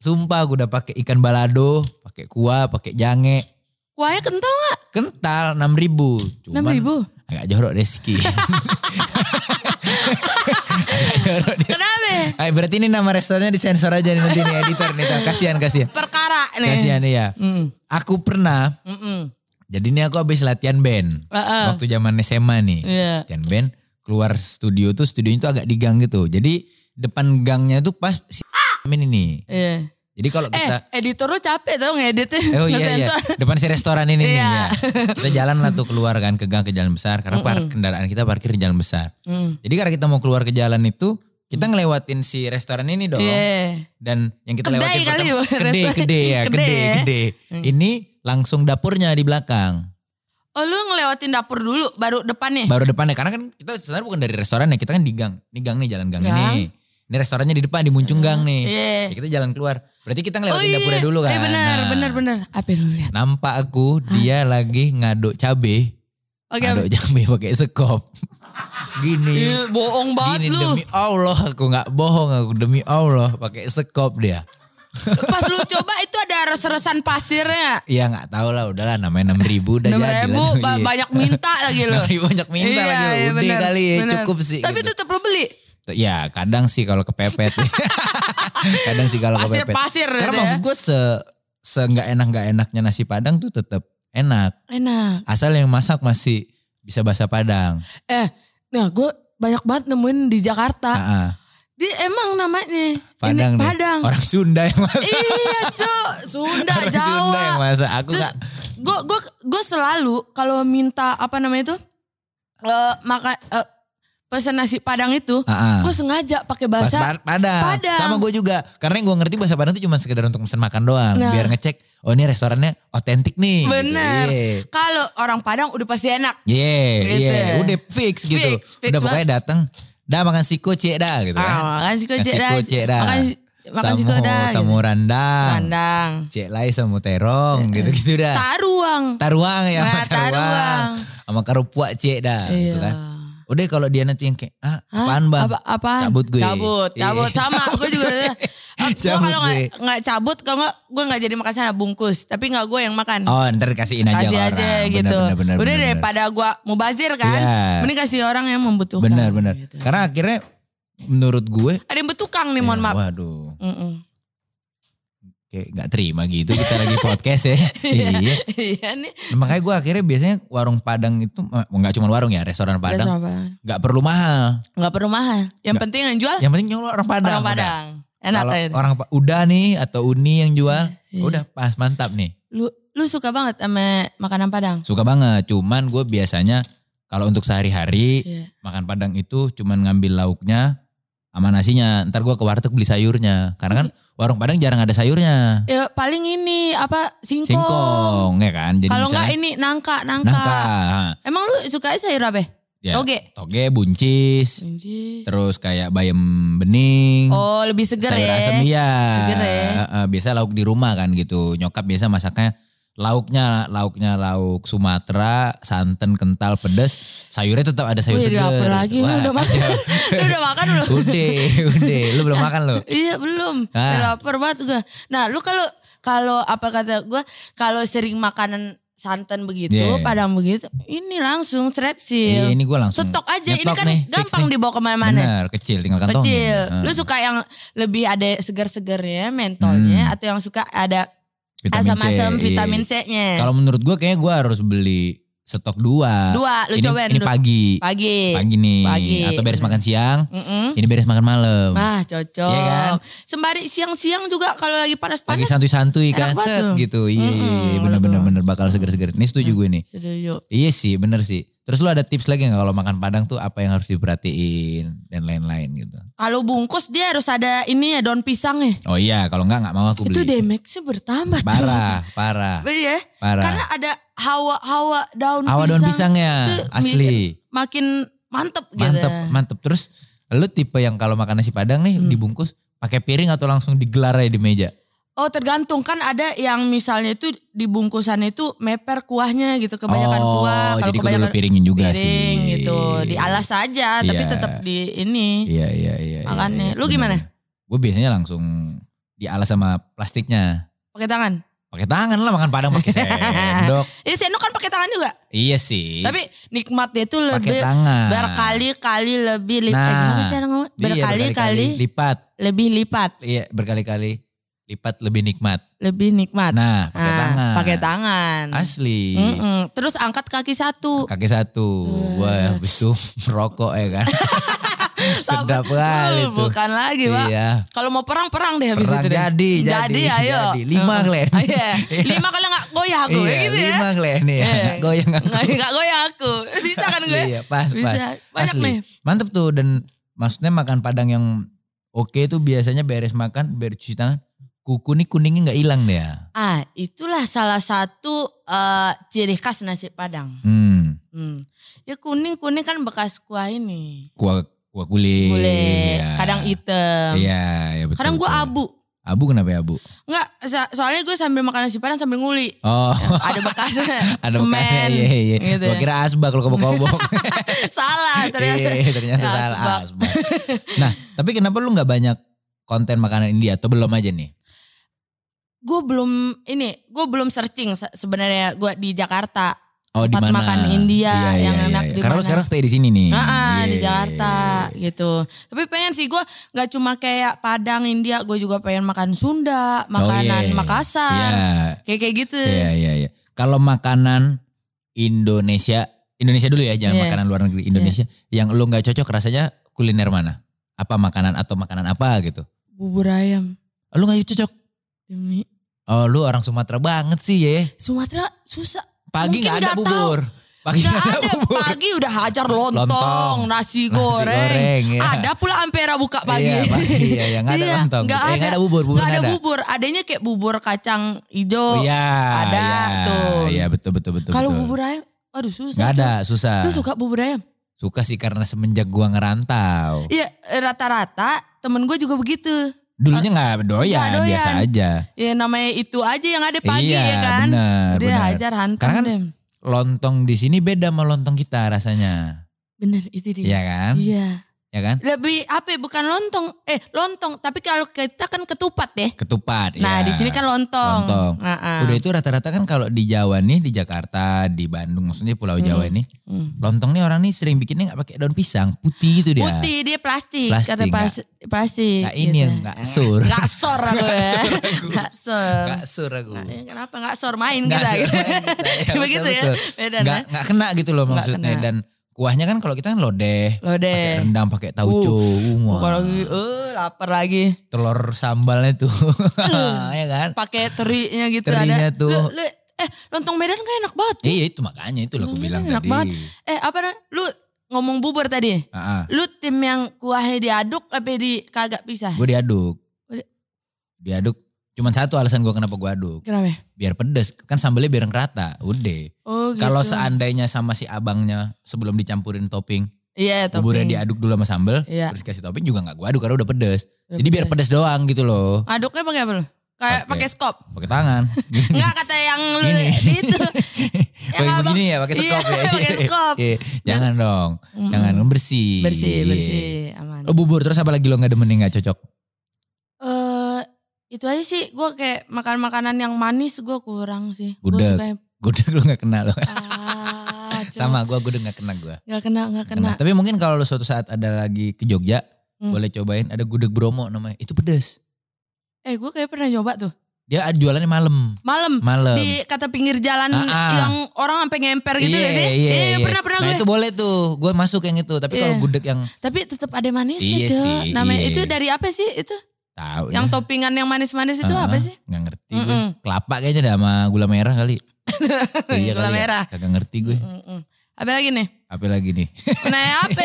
Speaker 1: Sumpah gue udah pakai ikan balado, pakai kuah, pakai jange,
Speaker 2: Kuahnya kental gak?
Speaker 1: kental enam ribu.
Speaker 2: 6 ribu.
Speaker 1: agak jorok deh Ski. agak jorok deh.
Speaker 2: Kenapa?
Speaker 1: Ay, Eh, berarti ini nama restorannya disensor aja nih nanti nih editor nih. Tuh. Kasihan, kasihan.
Speaker 2: Perkara nih.
Speaker 1: Kasihan ya.
Speaker 2: Mm,
Speaker 1: Aku pernah,
Speaker 2: mm, mm.
Speaker 1: jadi ini aku habis latihan band.
Speaker 2: Heeh.
Speaker 1: Waktu zaman SMA nih.
Speaker 2: Ah. Iya.
Speaker 1: Latihan band, keluar studio tuh studionya tuh agak di gang gitu. Jadi depan gangnya tuh pas si ini nih.
Speaker 2: Iya.
Speaker 1: Jadi kalau
Speaker 2: Eh,
Speaker 1: kita...
Speaker 2: editor lu capek tau ngeditnya.
Speaker 1: Oh iya iya,
Speaker 2: Ngesensor.
Speaker 1: depan si restoran ini nih
Speaker 2: Iya.
Speaker 1: ya. Kita jalan lah tuh keluar kan ke gang ke jalan besar. Karena par- kendaraan kita parkir di jalan besar.
Speaker 2: Mm.
Speaker 1: Jadi karena kita mau keluar ke jalan itu, kita ngelewatin si restoran ini dong.
Speaker 2: Iya.
Speaker 1: Dan yang kita
Speaker 2: Kedai
Speaker 1: lewatin
Speaker 2: kali ya,
Speaker 1: pertama, gede,
Speaker 2: restoran.
Speaker 1: gede ya,
Speaker 2: Kedai
Speaker 1: gede,
Speaker 2: ya.
Speaker 1: gede. Ini langsung dapurnya di belakang.
Speaker 2: Oh lu ngelewatin dapur dulu baru depannya?
Speaker 1: Baru depannya, karena kan kita sebenarnya bukan dari restoran ya, kita kan di gang. Ini gang nih, jalan gang
Speaker 2: Gang.
Speaker 1: ini. Ini restorannya di depan, di muncung gang nih.
Speaker 2: Iya.
Speaker 1: Ya, kita jalan keluar. Berarti kita
Speaker 2: Oh
Speaker 1: ngelewatin
Speaker 2: iya.
Speaker 1: dapurnya dulu kan.
Speaker 2: Eh, benar,
Speaker 1: Nah,
Speaker 2: benar, benar. Apa yang lu lihat?
Speaker 1: Nampak aku, dia lagi ngaduk cabe.
Speaker 2: Oke.
Speaker 1: Ngaduk cabe pakai sekop. Gini.
Speaker 2: Ih, bohong banget
Speaker 1: Gini
Speaker 2: lu.
Speaker 1: demi Allah aku nggak bohong aku demi Allah pakai sekop dia.
Speaker 2: Pas lu coba itu ada res-resan pasirnya.
Speaker 1: Iya nggak tahu lah udahlah namanya 6000 ribu udah
Speaker 2: Nomor
Speaker 1: jadi lah
Speaker 2: ribu
Speaker 1: tuh,
Speaker 2: ba-
Speaker 1: iya. Nah,
Speaker 2: banyak minta lagi lu.
Speaker 1: 6.000 banyak minta
Speaker 2: Iya,
Speaker 1: lagi lu.
Speaker 2: iya,
Speaker 1: Udah
Speaker 2: benar,
Speaker 1: kali ya
Speaker 2: benar.
Speaker 1: cukup sih.
Speaker 2: Tapi
Speaker 1: gitu.
Speaker 2: tetap lu beli.
Speaker 1: ya kadang sih kalau kepepet. kadang sih kalau kepepet.
Speaker 2: Pasir-pasir
Speaker 1: Karena
Speaker 2: gitu ya.
Speaker 1: maksud gue se se nggak enak nggak enaknya nasi padang tuh tetap enak
Speaker 2: Enak.
Speaker 1: asal yang masak masih bisa bahasa padang.
Speaker 2: Eh, nah gue banyak banget nemuin di Jakarta.
Speaker 1: Ah, ah.
Speaker 2: Di emang namanya
Speaker 1: Padang deh.
Speaker 2: ini Padang.
Speaker 1: Orang Sunda yang masak.
Speaker 2: iya, Cuk. Sunda,
Speaker 1: Orang
Speaker 2: Jawa.
Speaker 1: Sunda yang masak. Aku
Speaker 2: Terus
Speaker 1: nggak-
Speaker 2: gue gue gue selalu kalau minta apa namanya itu eh maka eh, pesan nasi Padang itu,
Speaker 1: Ah, ah.
Speaker 2: gue sengaja pakai
Speaker 1: Bahasa
Speaker 2: bahasa
Speaker 1: Pa- Padang.
Speaker 2: Padang.
Speaker 1: Sama gue juga. Karena yang gue ngerti bahasa Padang itu cuma sekedar untuk pesan makan doang.
Speaker 2: Nah.
Speaker 1: Biar ngecek, oh ini restorannya otentik nih. gitu.
Speaker 2: bener.
Speaker 1: Iya.
Speaker 2: Kalau orang Padang udah pasti enak.
Speaker 1: Iya,
Speaker 2: Gitu.
Speaker 1: iya. Udah fix gitu.
Speaker 2: Fix, fix
Speaker 1: Udah pokoknya datang. Dah makan siko cek dah gitu kan.
Speaker 2: Ah, makan si kocek dah.
Speaker 1: Siko cek dah.
Speaker 2: Makan si- makan si
Speaker 1: Samu-
Speaker 2: kocek dah. gitu.
Speaker 1: Samu randang.
Speaker 2: Pandang.
Speaker 1: Cek lai samu terong
Speaker 2: Eh,
Speaker 1: gitu-gitu dah.
Speaker 2: Taruang.
Speaker 1: Taruang Eh. ya sama
Speaker 2: Nah,
Speaker 1: taruang.
Speaker 2: taruang.
Speaker 1: Sama kerupuk cek dah gitu
Speaker 2: Iya.
Speaker 1: kan. Udah kalau dia nanti yang kayak, ah
Speaker 2: Hah?
Speaker 1: apaan bang?
Speaker 2: Apa, apaan?
Speaker 1: Cabut gue.
Speaker 2: Cabut, cabut.
Speaker 1: Iya.
Speaker 2: Sama, gue juga udah. Gue
Speaker 1: Cabut
Speaker 2: kalau nggak
Speaker 1: gue.
Speaker 2: nggak cabut, kalau nggak gue nggak jadi makan sana bungkus. Tapi nggak gue yang makan.
Speaker 1: Oh ntar kasihin aja
Speaker 2: kasih
Speaker 1: ke
Speaker 2: aja
Speaker 1: orang. Benar, benar,
Speaker 2: gitu.
Speaker 1: benar,
Speaker 2: udah
Speaker 1: benar, benar.
Speaker 2: daripada gue mubazir kan.
Speaker 1: Iya.
Speaker 2: Mending kasih orang yang membutuhkan.
Speaker 1: Benar benar.
Speaker 2: gitu.
Speaker 1: Karena akhirnya menurut gue.
Speaker 2: Ada yang betukang nih, mohon
Speaker 1: ya,
Speaker 2: maaf.
Speaker 1: Waduh.
Speaker 2: Mm-mm.
Speaker 1: Kayak gak terima gitu kita lagi podcast ya. iya.
Speaker 2: Iya nih.
Speaker 1: Makanya gue akhirnya biasanya warung Padang itu. eh, Nggak cuma warung ya. Restoran
Speaker 2: Padang.
Speaker 1: Padang. Gak perlu mahal.
Speaker 2: Gak perlu mahal. Yang
Speaker 1: Nggak.
Speaker 2: penting yang jual
Speaker 1: Yang penting nyolong orang Padang.
Speaker 2: orang
Speaker 1: udah.
Speaker 2: Padang. Enak
Speaker 1: Kalau
Speaker 2: kayak itu.
Speaker 1: orang Pa- udah nih atau Uni yang jual.
Speaker 2: Iya.
Speaker 1: Udah pas mantap nih.
Speaker 2: Lu, lu suka banget sama makanan Padang?
Speaker 1: Suka banget. Cuman gue biasanya kalau untuk sehari-hari
Speaker 2: Iya.
Speaker 1: makan Padang itu cuman ngambil lauknya sama nasinya. Ntar gue ke warteg beli sayurnya. Karena kan
Speaker 2: Iya.
Speaker 1: warung Padang jarang ada sayurnya.
Speaker 2: Ya paling ini apa singkong.
Speaker 1: Singkong ya kan. Jadi
Speaker 2: Kalau
Speaker 1: misalnya
Speaker 2: enggak ini nangka, nangka.
Speaker 1: nangka.
Speaker 2: Emang lu suka sayur apa?
Speaker 1: Ya,
Speaker 2: Toge. Iya.
Speaker 1: Toge, buncis. Terus kayak bayam bening.
Speaker 2: Oh, lebih seger
Speaker 1: sayur
Speaker 2: ya.
Speaker 1: asem iya.
Speaker 2: Seger ya.
Speaker 1: Heeh, biasa lauk di rumah kan gitu. Nyokap biasa masaknya lauknya lauknya lauk Sumatera, santan kental pedes, sayurnya tetap ada sayur
Speaker 2: Wih,
Speaker 1: seger. gitu.
Speaker 2: lapar lagi, lu
Speaker 1: Wah,
Speaker 2: udah makan.
Speaker 1: kacau.
Speaker 2: lu udah makan belum?
Speaker 1: udah, udah. Lu belum makan lo.
Speaker 2: iya, belum.
Speaker 1: Ah.
Speaker 2: Udah Lapar banget gue. Nah, lu kalau kalau apa kata gue kalau sering makanan santan begitu,
Speaker 1: Yeah.
Speaker 2: padang begitu, ini langsung
Speaker 1: Iya
Speaker 2: strepsil.
Speaker 1: ini gue langsung.
Speaker 2: Stok aja, ini
Speaker 1: nyetok
Speaker 2: kan
Speaker 1: nih, fix
Speaker 2: gampang
Speaker 1: nih.
Speaker 2: dibawa kemana-mana.
Speaker 1: Bener, kecil tinggal kantongin.
Speaker 2: kecil.
Speaker 1: Heeh.
Speaker 2: Lu suka yang lebih ada segar-segarnya, mentolnya,
Speaker 1: Hmm.
Speaker 2: atau yang suka ada
Speaker 1: Vitamin C,
Speaker 2: asam-asam
Speaker 1: iya.
Speaker 2: vitamin C-nya?
Speaker 1: Kalau menurut gue kayaknya gue harus beli stok dua.
Speaker 2: Dua, lu
Speaker 1: ini,
Speaker 2: cobain
Speaker 1: ini
Speaker 2: dulu.
Speaker 1: pagi.
Speaker 2: Pagi.
Speaker 1: Pagi nih.
Speaker 2: Pagi.
Speaker 1: Atau beres
Speaker 2: Hmm.
Speaker 1: makan siang.
Speaker 2: Mm-mm.
Speaker 1: Ini beres makan malam.
Speaker 2: Wah cocok.
Speaker 1: Gitu. Iya kan?
Speaker 2: Sembari siang-siang juga kalau
Speaker 1: Lagi
Speaker 2: lagi panas-panas.
Speaker 1: santuy-santuy
Speaker 2: Enak
Speaker 1: kan
Speaker 2: banget
Speaker 1: set
Speaker 2: tuh.
Speaker 1: gitu. Iya, iya,
Speaker 2: Mm-mm, Mm.
Speaker 1: iya, bener-bener
Speaker 2: betul.
Speaker 1: bener bakal seger-seger. Ini setuju gue nih.
Speaker 2: Setuju.
Speaker 1: Iya sih, bener sih. Terus lu ada tips lagi gak kalau makan Padang tuh apa yang harus diperhatiin dan lain-lain gitu.
Speaker 2: Kalau bungkus dia harus ada ini ya daun pisangnya.
Speaker 1: Oh iya, kalau enggak nggak mau aku
Speaker 2: Itu
Speaker 1: beli.
Speaker 2: damage-nya bertambah cuy.
Speaker 1: Parah, parah,
Speaker 2: Iya.
Speaker 1: parah.
Speaker 2: Karena ada hawa-hawa daun
Speaker 1: Awal daun
Speaker 2: pisang.
Speaker 1: pisangnya
Speaker 2: itu
Speaker 1: asli.
Speaker 2: Makin mantep gitu.
Speaker 1: Mantep, mantep. Terus lu tipe yang kalau makan nasi Padang nih
Speaker 2: Hmm.
Speaker 1: dibungkus pakai piring atau langsung digelar aja di meja.
Speaker 2: Oh tergantung kan ada yang misalnya itu di bungkusan itu meper kuahnya gitu kebanyakan
Speaker 1: oh,
Speaker 2: kuah
Speaker 1: jadi kudu
Speaker 2: kalau
Speaker 1: lu
Speaker 2: kebanyakan
Speaker 1: piringin juga sih.
Speaker 2: piring gitu dialas aja tapi
Speaker 1: Iya.
Speaker 2: tetap di ini
Speaker 1: Iya, iya, iya. iya,
Speaker 2: Makannya.
Speaker 1: iya,
Speaker 2: Lu gimana?
Speaker 1: Gue biasanya langsung dialas sama plastiknya.
Speaker 2: pakai tangan.
Speaker 1: Pakai tangan lah makan Padang pakai sendok.
Speaker 2: Ini sendok kan pakai tangan juga.
Speaker 1: iya sih.
Speaker 2: Tapi nikmatnya itu
Speaker 1: pakai
Speaker 2: lebih
Speaker 1: tangan. Iya,
Speaker 2: berkali-kali lebih lipat.
Speaker 1: Ah. Nah.
Speaker 2: Eh, gimana sih orang ngomong?
Speaker 1: Iya,
Speaker 2: Berkali-kali
Speaker 1: lipat.
Speaker 2: lebih lipat,
Speaker 1: Iya, berkali-kali lipat lebih nikmat.
Speaker 2: lebih nikmat.
Speaker 1: Nah, pakai
Speaker 2: Ah,
Speaker 1: tangan.
Speaker 2: Pakai tangan.
Speaker 1: Asli.
Speaker 2: Mm-mm. Terus angkat kaki satu.
Speaker 1: Kaki satu. Wah, habis itu merokok ya kan. Sedap
Speaker 2: Takut-
Speaker 1: kali
Speaker 2: Uh,
Speaker 1: tuh.
Speaker 2: Bukan lagi, Pak.
Speaker 1: Iya.
Speaker 2: Kalau mau perang perang deh habis
Speaker 1: Perang
Speaker 2: itu. deh.
Speaker 1: jadi, jadi,
Speaker 2: ayo.
Speaker 1: jadi. Lima,
Speaker 2: Heeh.
Speaker 1: Glenn.
Speaker 2: Iya. Lima kali nggak goyah aku,
Speaker 1: iya,
Speaker 2: ya gitu ya.
Speaker 1: lima kali nih.
Speaker 2: Iya.
Speaker 1: Nggak goyang nggak
Speaker 2: Nggak nggak goyah aku. Bisa kan
Speaker 1: Asli
Speaker 2: gue?
Speaker 1: ya, pas, pas.
Speaker 2: Bisa. Banyak
Speaker 1: Asli.
Speaker 2: nih.
Speaker 1: Mantep tuh dan maksudnya makan padang yang oke tuh biasanya beres makan, beres cuci tangan, kuku nih kuningnya nggak hilang deh ya.
Speaker 2: Ah, itulah salah satu eh, ciri khas nasi Padang.
Speaker 1: Hmm,
Speaker 2: Hmm. Ya kuning-kuning kan bekas kuah ini.
Speaker 1: kuah kuah kulit.
Speaker 2: Boleh.
Speaker 1: ya.
Speaker 2: Kadang hitam.
Speaker 1: Iya, ya betul.
Speaker 2: Kadang gue
Speaker 1: betul.
Speaker 2: abu.
Speaker 1: Abu kenapa ya abu?
Speaker 2: Enggak, so- soalnya gue sambil makan nasi Padang sambil nguli.
Speaker 1: Oh,
Speaker 2: Ada bekasnya.
Speaker 1: ada
Speaker 2: semen.
Speaker 1: bekasnya. Iya, iya.
Speaker 2: gitu
Speaker 1: Gua
Speaker 2: ya.
Speaker 1: kira asbak kalau kobok-kobok.
Speaker 2: Salah ternyata.
Speaker 1: Iya, ternyata
Speaker 2: Asbak.
Speaker 1: salah asbak. Nah, tapi kenapa lu nggak banyak konten makanan India atau belum aja nih?
Speaker 2: gue belum ini, gue belum searching se- sebenarnya gue di Jakarta.
Speaker 1: Oh, di mana?
Speaker 2: Tempat
Speaker 1: Iya,
Speaker 2: makan India yang enak di
Speaker 1: Karena lu
Speaker 2: mana?
Speaker 1: sekarang stay di sini nih. Iya,
Speaker 2: Ah, ah, di
Speaker 1: Yeay.
Speaker 2: Jakarta
Speaker 1: iya,
Speaker 2: gitu. Tapi pengen sih gue nggak cuma kayak Padang India, gue juga pengen makan Sunda,
Speaker 1: Oh,
Speaker 2: makanan
Speaker 1: iya.
Speaker 2: Makassar,
Speaker 1: Iya,
Speaker 2: kayak kayak gitu.
Speaker 1: iya, iya, iya. Kalau makanan Indonesia, Indonesia dulu ya, jangan
Speaker 2: Iya.
Speaker 1: makanan luar negeri Indonesia. Yang lu nggak cocok rasanya kuliner mana? Apa makanan atau makanan apa gitu?
Speaker 2: Bubur ayam,
Speaker 1: Oh, Lu nggak cocok?
Speaker 2: demi
Speaker 1: Oh, lu orang Sumatera banget sih ya.
Speaker 2: Sumatera susah.
Speaker 1: Pagi
Speaker 2: Mungkin
Speaker 1: nggak ada
Speaker 2: nggak tahu.
Speaker 1: bubur. Pagi
Speaker 2: Gak
Speaker 1: ada
Speaker 2: ada
Speaker 1: bubur.
Speaker 2: pagi udah hajar lontong,
Speaker 1: Iya, Lontong, nasi
Speaker 2: nasi goreng.
Speaker 1: goreng, ya.
Speaker 2: Ada pula ampera buka pagi.
Speaker 1: Iya, pagi, iya, iya. Nggak ada
Speaker 2: Iya,
Speaker 1: lontong.
Speaker 2: nggak
Speaker 1: Eh, nggak ada bubur, bubur
Speaker 2: nggak ada,
Speaker 1: nggak ada.
Speaker 2: bubur. Adanya kayak bubur kacang
Speaker 1: Oh,
Speaker 2: hijau.
Speaker 1: Iya.
Speaker 2: ada
Speaker 1: iya,
Speaker 2: tuh.
Speaker 1: Iya betul betul betul.
Speaker 2: Kalau
Speaker 1: betul.
Speaker 2: bubur ayam, aduh susah.
Speaker 1: Nggak ada
Speaker 2: Cok.
Speaker 1: susah.
Speaker 2: Lu suka bubur ayam?
Speaker 1: Suka sih karena semenjak gua ngerantau.
Speaker 2: Iya, rata-rata temen gue juga begitu.
Speaker 1: Dulunya nggak doyan,
Speaker 2: nggak doyan.
Speaker 1: biasa aja.
Speaker 2: Ya namanya itu aja yang ada pagi
Speaker 1: iya
Speaker 2: ya kan.
Speaker 1: benar
Speaker 2: Dia
Speaker 1: benar.
Speaker 2: hajar hantam
Speaker 1: Karena kan-
Speaker 2: deh.
Speaker 1: Lontong di sini beda sama lontong kita rasanya.
Speaker 2: Bener itu dia.
Speaker 1: Iya kan?
Speaker 2: Iya.
Speaker 1: Ya kan?
Speaker 2: Lebih apa ya, bukan lontong. Eh lontong. Tapi kalau kita kan ketupat ya.
Speaker 1: Ketupat.
Speaker 2: Nah
Speaker 1: iya.
Speaker 2: di sini kan lontong.
Speaker 1: Lontong.
Speaker 2: Nah,
Speaker 1: Udah itu rata-rata kan kalau di Jawa nih, di Jakarta, di Bandung, maksudnya Pulau Jawa
Speaker 2: Hmm.
Speaker 1: ini, lontong nih orang nih sering bikinnya nggak pakai daun pisang, putih itu dia.
Speaker 2: Putih dia plastik.
Speaker 1: Plastik,
Speaker 2: Kata pas, plastik.
Speaker 1: Nah ini yang
Speaker 2: Iya,
Speaker 1: nggak sur,
Speaker 2: Gak sor aku ya.
Speaker 1: Nggak sor aku.
Speaker 2: Gak sor.
Speaker 1: nggak sur aku.
Speaker 2: Nah, ya kenapa gak sor main
Speaker 1: Nggak
Speaker 2: kita.
Speaker 1: sur main kita, ya,
Speaker 2: gitu Begitu ya.
Speaker 1: betul-betul.
Speaker 2: Beda
Speaker 1: Nggak
Speaker 2: nah.
Speaker 1: nggak kena gitu loh
Speaker 2: Nggak
Speaker 1: maksudnya
Speaker 2: kena.
Speaker 1: dan kuahnya kan kalau kita kan lodeh,
Speaker 2: Lo
Speaker 1: pakai
Speaker 2: deh.
Speaker 1: rendang, pakai tauco, wah,
Speaker 2: Bukan Uh, lagi, eh lapar lagi.
Speaker 1: telur sambalnya tuh,
Speaker 2: Uh.
Speaker 1: ya kan?
Speaker 2: Pakai terinya gitu
Speaker 1: Terinya
Speaker 2: ada.
Speaker 1: tuh.
Speaker 2: Lu- lu- eh lontong Medan kan enak banget. tuh.
Speaker 1: Iya itu makanya itu loh aku
Speaker 2: Iya,
Speaker 1: bilang
Speaker 2: enak
Speaker 1: tadi.
Speaker 2: banget. Eh apa namanya? lu ngomong bubur tadi.
Speaker 1: Ah, ah.
Speaker 2: Lu tim yang kuahnya diaduk apa di kagak pisah?
Speaker 1: Gue diaduk,
Speaker 2: Gue
Speaker 1: diaduk. Cuman satu alasan gue kenapa gue aduk.
Speaker 2: Kenapa?
Speaker 1: biar pedes kan sambelnya biar ngerata udah
Speaker 2: Oh gitu.
Speaker 1: kalau seandainya sama si abangnya sebelum dicampurin topping
Speaker 2: Iya,
Speaker 1: buburnya
Speaker 2: topping.
Speaker 1: diaduk dulu sama sambel
Speaker 2: Iya.
Speaker 1: terus kasih topping juga nggak gua aduk karena udah pedes
Speaker 2: Udah
Speaker 1: jadi biar pedes
Speaker 2: pedes.
Speaker 1: doang gitu loh
Speaker 2: Aduknya pakai apa lu? Kayak
Speaker 1: Pakai.
Speaker 2: pakai skop.
Speaker 1: pakai tangan
Speaker 2: Enggak kata yang lu
Speaker 1: Gini.
Speaker 2: itu.
Speaker 1: pakai
Speaker 2: Iya, abang-
Speaker 1: begini ya pakai sekop
Speaker 2: Iya,
Speaker 1: ya
Speaker 2: pakai sekop.
Speaker 1: Iya, jangan dong
Speaker 2: Mm-mm.
Speaker 1: jangan bersih
Speaker 2: Bersih,
Speaker 1: Iya.
Speaker 2: bersih, aman.
Speaker 1: Oh, bubur terus apa lagi lo nggak demen nggak cocok
Speaker 2: Eh itu aja sih gue kayak makan makanan yang manis gue kurang sih. Gue
Speaker 1: Gudeg.
Speaker 2: suka yang
Speaker 1: gudeg lo nggak kena lo
Speaker 2: ah, cuma
Speaker 1: sama gua gudeg nggak kena gua
Speaker 2: Gak kena, gak kena.
Speaker 1: Kena. Nah, tapi mungkin kalau lo suatu saat ada lagi ke Jogja
Speaker 2: Hmm.
Speaker 1: boleh cobain ada gudeg Bromo namanya itu pedes
Speaker 2: Eh gue kayak pernah nyoba tuh.
Speaker 1: Dia ada jualannya malam.
Speaker 2: Malam.
Speaker 1: Malam.
Speaker 2: Di kata pinggir jalan
Speaker 1: Ah, ah.
Speaker 2: yang orang sampai ngemper gitu ya sih.
Speaker 1: iya,
Speaker 2: Iya,
Speaker 1: iya.
Speaker 2: pernah, pernah
Speaker 1: Nah
Speaker 2: gue.
Speaker 1: itu boleh tuh. Gue masuk yang itu. Tapi kalau
Speaker 2: Iya.
Speaker 1: gudeg yang
Speaker 2: Tapi tetap ada manisnya
Speaker 1: Iya
Speaker 2: Cok.
Speaker 1: sih,
Speaker 2: Namanya
Speaker 1: iya.
Speaker 2: itu dari apa sih itu?
Speaker 1: tahu
Speaker 2: Yang
Speaker 1: dah.
Speaker 2: toppingan yang manis-manis itu
Speaker 1: Ah,
Speaker 2: apa sih?
Speaker 1: Nggak ngerti gue.
Speaker 2: Mm-mm.
Speaker 1: Kelapa kayaknya ada sama gula merah kali.
Speaker 2: Gula
Speaker 1: kali ya.
Speaker 2: merah.
Speaker 1: Kagak ngerti gue.
Speaker 2: Mm-mm. Apa lagi nih?
Speaker 1: Apa lagi nih?
Speaker 2: Nah apa?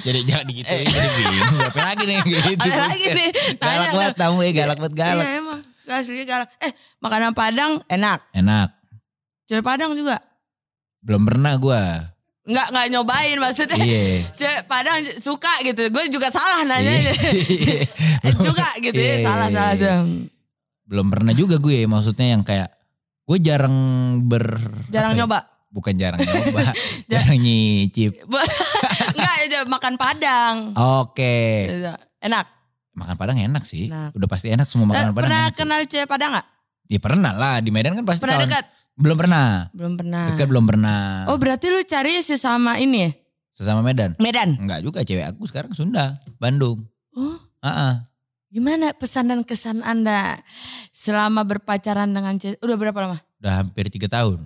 Speaker 1: jadi jangan digituin. jadi bingung. Apa lagi nih? Gitu,
Speaker 2: Eh. apa lagi
Speaker 1: buset.
Speaker 2: nih?
Speaker 1: Galak
Speaker 2: Tanya
Speaker 1: banget
Speaker 2: dong.
Speaker 1: tamu ya. Galak banget galak.
Speaker 2: Iya emang. Aslinya galak. Eh makanan Padang enak.
Speaker 1: Enak.
Speaker 2: Cewek Padang juga.
Speaker 1: Belum pernah gue.
Speaker 2: Nggak, nggak nyobain maksudnya.
Speaker 1: Iya.
Speaker 2: Cewek Padang suka gitu. Gue juga salah nanya.
Speaker 1: Iya.
Speaker 2: juga gitu
Speaker 1: Iya, iya,
Speaker 2: ya. Salah,
Speaker 1: iya,
Speaker 2: salah.
Speaker 1: iya.
Speaker 2: salah.
Speaker 1: Belum pernah juga gue. Maksudnya yang kayak. Gue jarang ber...
Speaker 2: Jarang
Speaker 1: apa ya?
Speaker 2: nyoba.
Speaker 1: bukan jarang nyoba, jarang nyicip.
Speaker 2: Enggak, ya, makan Padang.
Speaker 1: Oke,
Speaker 2: Enak.
Speaker 1: makan Padang enak sih.
Speaker 2: Enak.
Speaker 1: Udah pasti enak semua
Speaker 2: Eh,
Speaker 1: makanan Padang.
Speaker 2: pernah
Speaker 1: enak sih.
Speaker 2: kenal cewek Padang nggak?
Speaker 1: Ya pernah lah di Medan kan pasti
Speaker 2: Pernah
Speaker 1: tahun-
Speaker 2: dekat?
Speaker 1: Belum pernah.
Speaker 2: Belum pernah.
Speaker 1: Dekat belum pernah.
Speaker 2: Oh berarti lu cari sesama ini ya?
Speaker 1: Sesama Medan.
Speaker 2: Medan.
Speaker 1: Enggak juga cewek aku sekarang Sunda, Bandung.
Speaker 2: Oh,
Speaker 1: Heeh.
Speaker 2: gimana pesan dan kesan Anda selama berpacaran dengan cewek? Udah berapa lama?
Speaker 1: Udah hampir tiga tahun,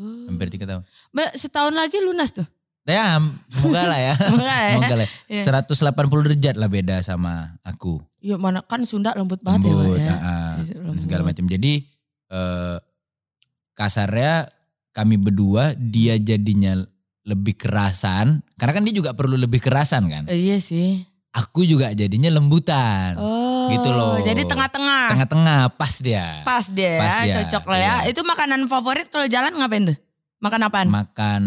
Speaker 2: Oh.
Speaker 1: hampir tiga tahun.
Speaker 2: Ba- Setahun lagi lunas tuh.
Speaker 1: Ya, semoga lah ya.
Speaker 2: Semoga lah ya.
Speaker 1: semoga lah.
Speaker 2: Iya.
Speaker 1: 180 derajat lah beda sama aku.
Speaker 2: Ya mana kan Sunda lembut banget ya, Pak,
Speaker 1: lembut,
Speaker 2: ya.
Speaker 1: ah,
Speaker 2: Iya,
Speaker 1: dan
Speaker 2: lembut.
Speaker 1: segala macam. Jadi eh, kasarnya kami berdua dia jadinya lebih kerasan, karena kan dia juga perlu lebih kerasan kan.
Speaker 2: Eh, iya sih.
Speaker 1: Aku juga jadinya lembutan,
Speaker 2: Oh.
Speaker 1: Gitu loh.
Speaker 2: Jadi tengah-tengah.
Speaker 1: tengah-tengah pas dia.
Speaker 2: Pas deh,
Speaker 1: Pas dia,
Speaker 2: ya, cocok lah ya.
Speaker 1: iya.
Speaker 2: Itu makanan favorit kalau jalan ngapain tuh? Makan apaan?
Speaker 1: Makan,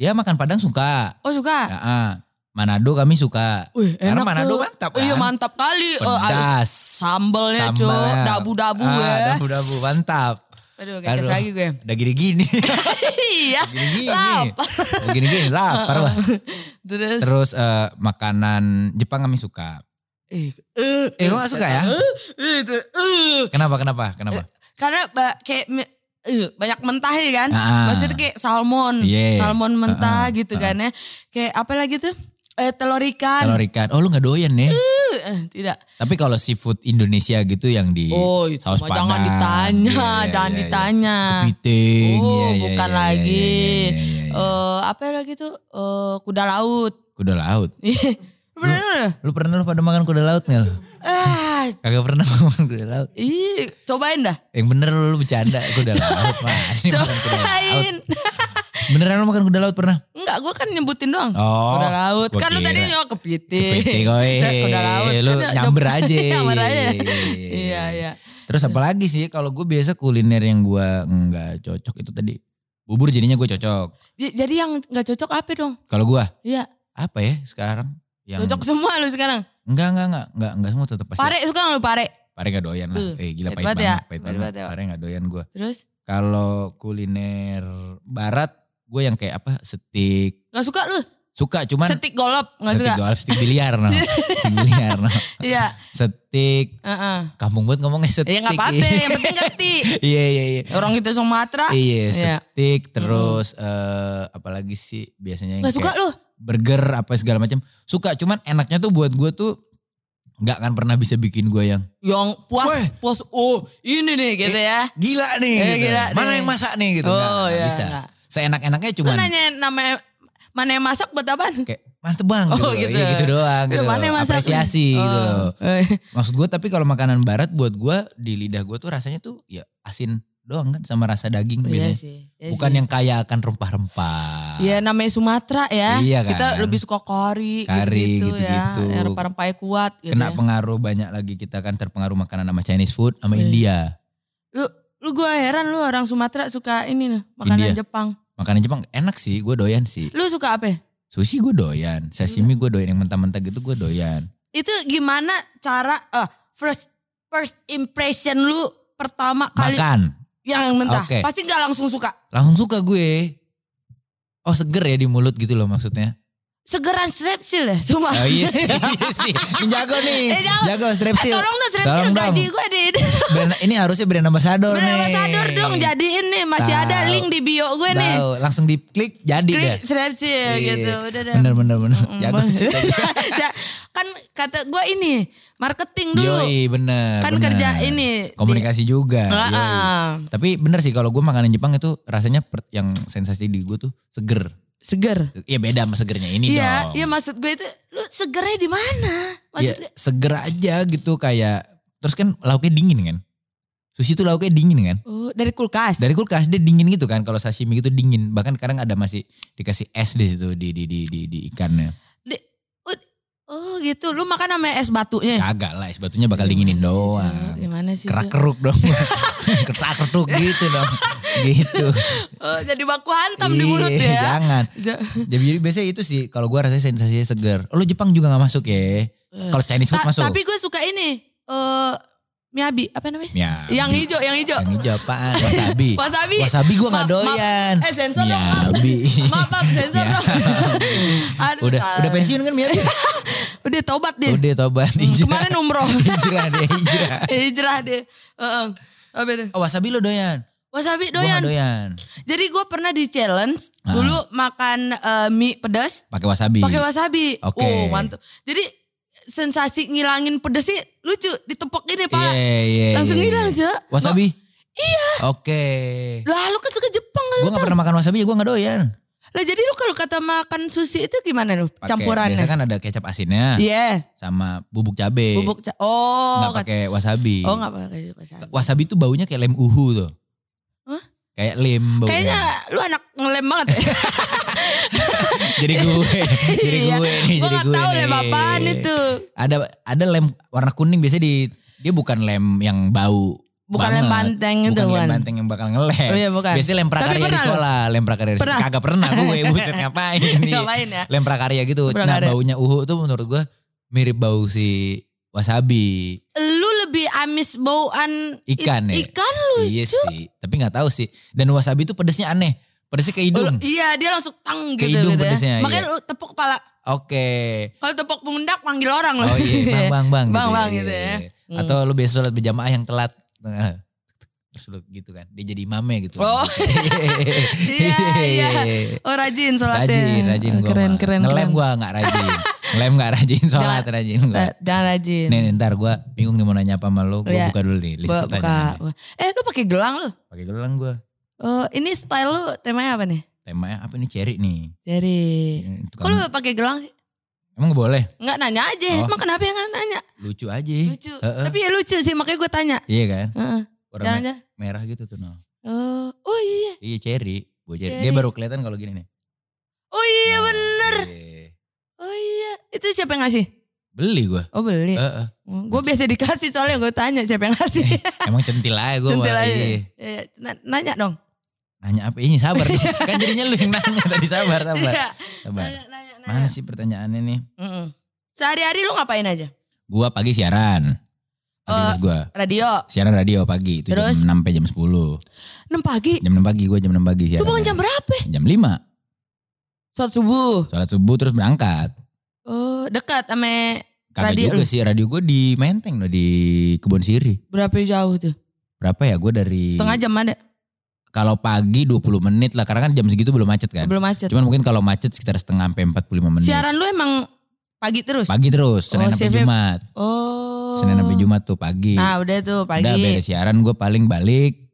Speaker 1: dia makan Padang suka.
Speaker 2: oh suka.
Speaker 1: Ah, ah. Manado kami suka.
Speaker 2: Wih,
Speaker 1: Karena
Speaker 2: enak
Speaker 1: Manado
Speaker 2: tuh.
Speaker 1: mantap
Speaker 2: Iya
Speaker 1: kan.
Speaker 2: mantap kali. Eh, harus
Speaker 1: Pedas.
Speaker 2: sambalnya cok,
Speaker 1: sambalnya.
Speaker 2: dabu-dabu
Speaker 1: Ah,
Speaker 2: ya.
Speaker 1: Dabu-dabu mantap.
Speaker 2: Aduh,
Speaker 1: Aduh.
Speaker 2: kecas lagi gue.
Speaker 1: Udah gini-gini.
Speaker 2: iya.
Speaker 1: Gini-gini.
Speaker 2: Lapar. Ah,
Speaker 1: Udah gini-gini lapar lah.
Speaker 2: Terus,
Speaker 1: Terus eh, makanan Jepang kami suka.
Speaker 2: eh, eh,
Speaker 1: Eh, lo gak suka ya?
Speaker 2: eh, eh, itu, eh.
Speaker 1: Kenapa, kenapa, kenapa?
Speaker 2: Karena ba- kayak me- eh, banyak mentah ya kan.
Speaker 1: Ah.
Speaker 2: Maksudnya kayak salmon,
Speaker 1: Iya.
Speaker 2: salmon
Speaker 1: Ah,
Speaker 2: mentah
Speaker 1: ah,
Speaker 2: gitu
Speaker 1: ah.
Speaker 2: kan ya. Kayak apa lagi tuh? Eh, telur ikan.
Speaker 1: Telur ikan. Oh lu gak doyan ya?
Speaker 2: Eh, eh, tidak.
Speaker 1: Tapi kalau seafood Indonesia gitu yang di
Speaker 2: Oh, itu
Speaker 1: saus
Speaker 2: mah
Speaker 1: padang.
Speaker 2: jangan ditanya,
Speaker 1: Iya, iya, iya,
Speaker 2: jangan
Speaker 1: iya.
Speaker 2: ditanya.
Speaker 1: Kepiting.
Speaker 2: Oh,
Speaker 1: iya, iya,
Speaker 2: bukan
Speaker 1: iya, iya,
Speaker 2: lagi.
Speaker 1: iya, iya, iya, iya.
Speaker 2: Eh, apa lagi tuh? Eh, kuda laut.
Speaker 1: Kuda laut.
Speaker 2: Bener.
Speaker 1: Lu pernah lu pada makan kuda laut gak lu?
Speaker 2: Ah,
Speaker 1: Kagak pernah makan kuda laut.
Speaker 2: ih, cobain dah.
Speaker 1: Yang bener lu, lu bercanda kuda laut. Man. Ini makan kuda laut.
Speaker 2: Cobain.
Speaker 1: Beneran lo makan kuda laut pernah?
Speaker 2: Enggak, gue kan nyebutin doang.
Speaker 1: Oh.
Speaker 2: kuda laut.
Speaker 1: gua
Speaker 2: Kan lu tadi
Speaker 1: kira.
Speaker 2: nyok kepiting.
Speaker 1: Kepiting, oi.
Speaker 2: Kuda laut.
Speaker 1: Lu
Speaker 2: Kan
Speaker 1: nyamber aja.
Speaker 2: nyamber aja. Iya, iya.
Speaker 1: Terus apalagi sih kalau gue biasa kuliner yang gue nggak cocok itu tadi. Bubur jadinya gue cocok.
Speaker 2: Ya, Jadi yang gak cocok apa dong?
Speaker 1: Kalau gue
Speaker 2: Iya,
Speaker 1: apa ya sekarang? Yang
Speaker 2: cocok semua lu sekarang.
Speaker 1: Enggak, enggak, enggak, enggak, enggak semua tetap pasti.
Speaker 2: Pare, suka gak lu pare?
Speaker 1: Pare gak doyan lah.
Speaker 2: Uh,
Speaker 1: eh gila
Speaker 2: pahit
Speaker 1: pahit
Speaker 2: banget
Speaker 1: banget.
Speaker 2: ya,
Speaker 1: Pahit
Speaker 2: pahit
Speaker 1: banget.
Speaker 2: banget ya.
Speaker 1: Pare gak doyan gue.
Speaker 2: Terus?
Speaker 1: Kalau kuliner barat gue yang kayak apa? Steak.
Speaker 2: Gak suka lu?
Speaker 1: Suka cuman
Speaker 2: Setik golop, gak
Speaker 1: steak
Speaker 2: suka?
Speaker 1: golf, steak biliar no. steak biliar no.
Speaker 2: Iya,
Speaker 1: Steak
Speaker 2: heeh.
Speaker 1: kampung buat ngomongnya steak.
Speaker 2: Ya gak apa-apa, yang penting ngerti.
Speaker 1: Iya, iya, iya.
Speaker 2: Orang kita Sumatera,
Speaker 1: Iya,
Speaker 2: Iya.
Speaker 1: steak terus eh, apalagi sih biasanya yang
Speaker 2: gak suka
Speaker 1: kayak
Speaker 2: lu?
Speaker 1: burger apa segala macam. Suka cuman enaknya tuh buat gue tuh nggak akan pernah bisa bikin gue yang
Speaker 2: Yang
Speaker 1: Weh.
Speaker 2: puas, puas, oh ini nih gitu ya.
Speaker 1: gila nih.
Speaker 2: Eh,
Speaker 1: gitu.
Speaker 2: gila
Speaker 1: Mana
Speaker 2: nih.
Speaker 1: yang masak nih gitu. Nggak,
Speaker 2: Oh,
Speaker 1: nggak
Speaker 2: iya,
Speaker 1: bisa.
Speaker 2: nggak.
Speaker 1: Seenak-enaknya
Speaker 2: Lu
Speaker 1: cuman
Speaker 2: nanya namanya, mana yang masak buat apaan?
Speaker 1: kayak mantep bang gitu. loh.
Speaker 2: Oh, gitu.
Speaker 1: Iya, gitu doang gitu.
Speaker 2: Aduh,
Speaker 1: loh.
Speaker 2: mana yang masak?
Speaker 1: Apresiasi
Speaker 2: Oh.
Speaker 1: gitu loh.
Speaker 2: Eh,
Speaker 1: Maksud gue tapi kalau makanan barat buat gue di lidah gue tuh rasanya tuh ya asin doang kan sama rasa daging
Speaker 2: Iya
Speaker 1: biasanya.
Speaker 2: sih. iya
Speaker 1: gitu. Bukan
Speaker 2: sih.
Speaker 1: yang kaya akan rempah-rempah.
Speaker 2: Iya namanya Sumatera ya.
Speaker 1: Iya kan?
Speaker 2: Kita lebih suka kari,
Speaker 1: Kari,
Speaker 2: gitu-gitu, ya.
Speaker 1: gitu-gitu.
Speaker 2: Yang rempah-rempahnya kuat gitu
Speaker 1: Kena
Speaker 2: ya.
Speaker 1: pengaruh banyak lagi kita kan terpengaruh makanan sama Chinese food sama
Speaker 2: Iya.
Speaker 1: India.
Speaker 2: Lu gue heran lu orang Sumatera suka ini nih, makanan
Speaker 1: India.
Speaker 2: Jepang.
Speaker 1: Makanan Jepang enak sih, gue doyan sih.
Speaker 2: Lu suka apa?
Speaker 1: Sushi gue doyan, sashimi
Speaker 2: Hmm.
Speaker 1: gue doyan, yang mentah-mentah gitu gue doyan.
Speaker 2: Itu gimana cara eh first first impression lu pertama kali
Speaker 1: Makan,
Speaker 2: yang mentah?
Speaker 1: Oke.
Speaker 2: Pasti nggak langsung suka.
Speaker 1: langsung suka gue. Oh seger ya di mulut gitu loh maksudnya.
Speaker 2: Segeran strepsil ya, cuma.
Speaker 1: Oh iya sih, iya sih. Ini Jago nih,
Speaker 2: Eh, jago.
Speaker 1: jago
Speaker 2: Eh,
Speaker 1: strepsil.
Speaker 2: tolong dong strepsil
Speaker 1: Tolong dong.
Speaker 2: gaji gue di
Speaker 1: Brand- ini harusnya brand ambassador
Speaker 2: Brand
Speaker 1: nih.
Speaker 2: Ambassador dong jadiin nih masih ada
Speaker 1: Tahu.
Speaker 2: link di bio gue nih.
Speaker 1: Tahu, langsung diklik jadi
Speaker 2: Klik
Speaker 1: deh.
Speaker 2: strepsil
Speaker 1: Iya.
Speaker 2: gitu udah deh.
Speaker 1: Bener bener bener.
Speaker 2: Mm,
Speaker 1: Jago
Speaker 2: bang.
Speaker 1: sih.
Speaker 2: Ya, kan kata gue ini marketing dulu
Speaker 1: Yoi bener.
Speaker 2: kan
Speaker 1: bener.
Speaker 2: kerja ini
Speaker 1: Komunikasi juga.
Speaker 2: Di, Ah,
Speaker 1: yoi.
Speaker 2: ah.
Speaker 1: Tapi bener sih kalau gue makanan Jepang itu rasanya per- yang sensasi di gue tuh seger.
Speaker 2: seger.
Speaker 1: Iya beda sama segernya ini
Speaker 2: Iya,
Speaker 1: dong.
Speaker 2: iya maksud gue itu lu segernya di mana?
Speaker 1: Iya,
Speaker 2: Maksud gue,
Speaker 1: seger aja gitu kayak. Terus kan lauknya dingin kan. Sushi tuh lauknya dingin kan.
Speaker 2: oh, dari kulkas.
Speaker 1: Dari kulkas dia dingin gitu kan. Kalau sashimi gitu dingin. Bahkan kadang ada masih dikasih es di situ di di di di, di ikannya.
Speaker 2: oh, gitu. Lu makan sama es batunya.
Speaker 1: Kagak lah es batunya bakal dinginin
Speaker 2: Gimana Eh. Iya, sih,
Speaker 1: doang.
Speaker 2: Sur? Gimana sih? Sur?
Speaker 1: Kerak keruk dong. Kerak keruk gitu dong. Gitu.
Speaker 2: Oh, jadi baku hantam di
Speaker 1: Ih,
Speaker 2: mulut ya.
Speaker 1: Iya, Jangan.
Speaker 2: Ja-
Speaker 1: Jadi jadi biasanya itu sih kalau gua rasanya sensasinya seger. Oh, Lu Jepang juga nggak masuk ya? Kalau Chinese food
Speaker 2: Eh, Ta-
Speaker 1: masuk.
Speaker 2: tapi gue suka ini. Eh miabi, apa namanya?
Speaker 1: ya,
Speaker 2: Yang hijau, yang hijau.
Speaker 1: yang hijau apaan? Wasabi.
Speaker 2: Wasabi.
Speaker 1: Wasabi gua nggak
Speaker 2: Maaf, maaf.
Speaker 1: doyan.
Speaker 2: Eh, sensor dong, maaf.
Speaker 1: Miyabi.
Speaker 2: Maaf, maaf, sensor
Speaker 1: Ya.
Speaker 2: dong. Aduh,
Speaker 1: udah
Speaker 2: salah.
Speaker 1: udah pensiun kan Miyabi?
Speaker 2: Udah tobat dia.
Speaker 1: udah tobat
Speaker 2: Hmm,
Speaker 1: hijrah.
Speaker 2: Kemarin umroh. Eh,
Speaker 1: hijrah deh, hijrah.
Speaker 2: Hijrah deh. Heeh. Apa deh?
Speaker 1: Oh, wasabi lu doyan?
Speaker 2: Wasabi
Speaker 1: Gua nggak
Speaker 2: doyan.
Speaker 1: doyan.
Speaker 2: Jadi gue pernah di challenge
Speaker 1: Ah.
Speaker 2: dulu makan eh, mie pedas
Speaker 1: Pakai wasabi.
Speaker 2: pakai wasabi.
Speaker 1: Oke.
Speaker 2: Oh mantep. Jadi sensasi ngilangin pedas sih lucu ditepok ini pak.
Speaker 1: Iya, iya,
Speaker 2: Langsung
Speaker 1: iya,
Speaker 2: hilang
Speaker 1: iya.
Speaker 2: cek.
Speaker 1: Wasabi? Iya. Oke.
Speaker 2: Lah lu kan suka Jepang kan?
Speaker 1: Gue gak pernah makan wasabi ya gue gak doyan.
Speaker 2: Lah jadi lu kalau kata makan sushi itu gimana lu
Speaker 1: Pakai-
Speaker 2: campurannya?
Speaker 1: Biasanya
Speaker 2: Iya.
Speaker 1: kan ada kecap asinnya sama bubuk cabe.
Speaker 2: Bubuk ca- oh
Speaker 1: Gak pakai wasabi.
Speaker 2: kat- oh nggak pakai wasabi.
Speaker 1: Wasabi tuh baunya kayak lem uhu tuh.
Speaker 2: Hah?
Speaker 1: Kayak lem baunya.
Speaker 2: Kayaknya lu anak ngelem banget.
Speaker 1: jadi gue, jadi
Speaker 2: Iya.
Speaker 1: gue nih,
Speaker 2: gue
Speaker 1: jadi
Speaker 2: nggak
Speaker 1: gue.
Speaker 2: tahu
Speaker 1: nih.
Speaker 2: lem apaan itu.
Speaker 1: Ada ada lem warna kuning biasanya di dia bukan lem yang bau.
Speaker 2: Bukan lem
Speaker 1: banget.
Speaker 2: banteng itu
Speaker 1: bukan lem
Speaker 2: bukan.
Speaker 1: banteng yang bakal ngelem.
Speaker 2: Oh iya, bukan.
Speaker 1: Biasanya lem prakarya di
Speaker 2: pernah loh.
Speaker 1: sekolah, lem prakarya di sekolah.
Speaker 2: Pernah.
Speaker 1: Kagak pernah gue, buset ngapain nih.
Speaker 2: Ngapain ya?
Speaker 1: Lem prakarya gitu.
Speaker 2: Prakarya.
Speaker 1: Nah, baunya uhu tuh menurut gue mirip bau si wasabi.
Speaker 2: lu lebih amis bauan i-
Speaker 1: Ikan ya?
Speaker 2: Ikan lu.
Speaker 1: Iya sih, tapi nggak tahu sih. Dan wasabi itu pedesnya aneh. Pedesnya ke
Speaker 2: Lu-
Speaker 1: hidung.
Speaker 2: Iya dia langsung tang
Speaker 1: Ke
Speaker 2: gitu,
Speaker 1: hidung
Speaker 2: gitu
Speaker 1: pedesnya,
Speaker 2: ya. Makanya
Speaker 1: iya.
Speaker 2: lu tepuk kepala.
Speaker 1: Oke.
Speaker 2: Kalau tepuk pundak panggil orang loh.
Speaker 1: Oh iya, bang bang bang.
Speaker 2: Bang, bang,
Speaker 1: iya,
Speaker 2: gitu ya.
Speaker 1: iya. Atau lu biasa sholat berjamaah yang telat. Nah, Terus lu gitu kan. Dia jadi imamnya gitu.
Speaker 2: Oh. Iya, iya. Oh rajin sholatnya.
Speaker 1: Rajin, rajin
Speaker 2: Oh,
Speaker 1: gua.
Speaker 2: Keren,
Speaker 1: mah.
Speaker 2: keren,
Speaker 1: Ngelem
Speaker 2: keren.
Speaker 1: gua nggak rajin. Ngelem nggak rajin, sholat rajin gua.
Speaker 2: Nah, Jangan rajin.
Speaker 1: Nih, nih, ntar gua bingung nih mau nanya apa sama lu. Gua
Speaker 2: Iya.
Speaker 1: buka dulu nih list
Speaker 2: Buka-
Speaker 1: pertanyaan.
Speaker 2: buka. Eh lu pakai gelang lu.
Speaker 1: Pakai gelang gua.
Speaker 2: Eh, ini style lu temanya apa nih?
Speaker 1: Temanya apa nih cherry nih.
Speaker 2: Dari.
Speaker 1: Ini tukang-
Speaker 2: Kok lu pakai gelang sih?
Speaker 1: Emang boleh?
Speaker 2: Enggak nanya aja.
Speaker 1: Oh.
Speaker 2: Emang kenapa yang nggak nanya?
Speaker 1: Lucu aja.
Speaker 2: Lucu.
Speaker 1: Heeh.
Speaker 2: Tapi ya lucu sih makanya gue tanya.
Speaker 1: Iya kan?
Speaker 2: Heeh.
Speaker 1: Warna
Speaker 2: Jangan aja.
Speaker 1: merah gitu tuh no.
Speaker 2: Oh, oh iya.
Speaker 1: Iya cherry. Gue cari.
Speaker 2: Jadi-
Speaker 1: Dia baru kelihatan kalau gini nih.
Speaker 2: Oh iya
Speaker 1: Nah,
Speaker 2: bener.
Speaker 1: iya.
Speaker 2: Oh iya. Itu siapa yang ngasih?
Speaker 1: Beli gue.
Speaker 2: Oh beli.
Speaker 1: Heeh.
Speaker 2: gue biasa dikasih soalnya gue tanya siapa yang ngasih.
Speaker 1: Emang centil aja gue.
Speaker 2: Centil aja. Iya, iya. Na- Nanya dong.
Speaker 1: Nanya apa? Ini sabar. dong. kan jadinya lu yang nanya tadi. Sabar, sabar.
Speaker 2: Iya.
Speaker 1: sabar.
Speaker 2: Nanya, nanya,
Speaker 1: Mana
Speaker 2: nanya.
Speaker 1: sih pertanyaannya nih?
Speaker 2: Mm-mm. Sehari-hari lu ngapain aja?
Speaker 1: Gue pagi siaran. Aktivitas gue.
Speaker 2: Radio.
Speaker 1: Siaran radio pagi. Itu
Speaker 2: Oh. Terus?
Speaker 1: jam 6 sampai jam 10.
Speaker 2: 6 pagi.
Speaker 1: Jam 6 pagi gue jam 6 pagi siaran.
Speaker 2: Lu bangun jam berapa?
Speaker 1: Jam 5.
Speaker 2: Saat subuh.
Speaker 1: Sholat subuh terus berangkat.
Speaker 2: Oh dekat sama
Speaker 1: Kagak
Speaker 2: Radio
Speaker 1: juga sih. Radio gue di Menteng loh. Di Kebon Siri.
Speaker 2: berapa jauh tuh?
Speaker 1: Berapa ya gue dari.
Speaker 2: Setengah jam ada.
Speaker 1: Kalau pagi 20 menit lah. Karena kan jam segitu belum macet kan.
Speaker 2: Belum macet.
Speaker 1: Cuman mungkin kalau macet sekitar setengah sampai 45 menit.
Speaker 2: Siaran lu emang pagi terus?
Speaker 1: Pagi terus, Senin
Speaker 2: Oh,
Speaker 1: sampai
Speaker 2: shiftnya-
Speaker 1: Jumat.
Speaker 2: Oh.
Speaker 1: Senin sampai Jumat tuh pagi.
Speaker 2: Nah udah tuh pagi.
Speaker 1: Udah beres siaran gue paling balik.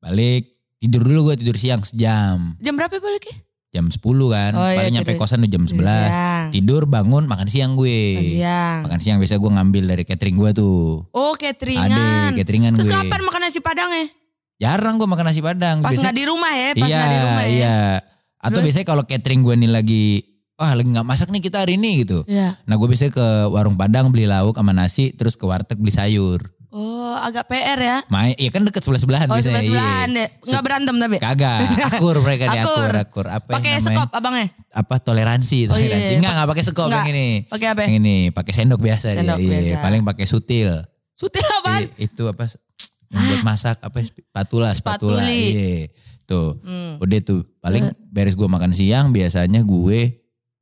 Speaker 1: Balik. Tidur dulu gue tidur siang sejam.
Speaker 2: Jam berapa baliknya?
Speaker 1: Jam 10 kan.
Speaker 2: Oh, iya,
Speaker 1: paling nyampe
Speaker 2: tidur.
Speaker 1: kosan tuh jam 11.
Speaker 2: Siang.
Speaker 1: Tidur bangun makan siang
Speaker 2: Makan
Speaker 1: gue.
Speaker 2: Siang.
Speaker 1: Makan siang biasa gue ngambil dari catering gue tuh.
Speaker 2: Oh
Speaker 1: Ada
Speaker 2: cateringan.
Speaker 1: cateringan
Speaker 2: Terus
Speaker 1: gue.
Speaker 2: kapan makan nasi padangnya?
Speaker 1: Jarang gue makan nasi padang.
Speaker 2: Pas
Speaker 1: Biasanya-
Speaker 2: ya? nggak di rumah ya, pas
Speaker 1: iya,
Speaker 2: nggak di rumah ya.
Speaker 1: iya. Atau
Speaker 2: Terus?
Speaker 1: biasanya kalau catering gue nih lagi, wah lagi nggak masak nih kita hari ini gitu.
Speaker 2: Iya.
Speaker 1: Nah gue biasanya ke warung Padang beli lauk sama nasi, terus ke warteg beli sayur.
Speaker 2: Oh agak PR ya.
Speaker 1: Main, iya kan deket sebelah sebelahan
Speaker 2: Oh
Speaker 1: biasanya.
Speaker 2: sebelah sebelahan
Speaker 1: iya.
Speaker 2: deh. Nggak berantem tapi.
Speaker 1: Kagak, akur mereka nih, akur,
Speaker 2: Akur.
Speaker 1: akur. Apa yang
Speaker 2: Pakai
Speaker 1: namanya?
Speaker 2: sekop abangnya.
Speaker 1: Apa toleransi,
Speaker 2: Oh, iya,
Speaker 1: toleransi.
Speaker 2: iya.
Speaker 1: Enggak, enggak pakai sekop yang
Speaker 2: Enggak.
Speaker 1: ini.
Speaker 2: Pakai apa? ya?
Speaker 1: Yang ini, pakai sendok biasa.
Speaker 2: Sendok
Speaker 1: dia, iya.
Speaker 2: biasa.
Speaker 1: Paling pakai sutil.
Speaker 2: Sutil apaan?
Speaker 1: I- itu apa, yang buat masak, apa, spatula, spatula.
Speaker 2: Spatuli.
Speaker 1: Iya, tuh.
Speaker 2: Hmm.
Speaker 1: Udah tuh, paling beres gue makan siang, biasanya gue,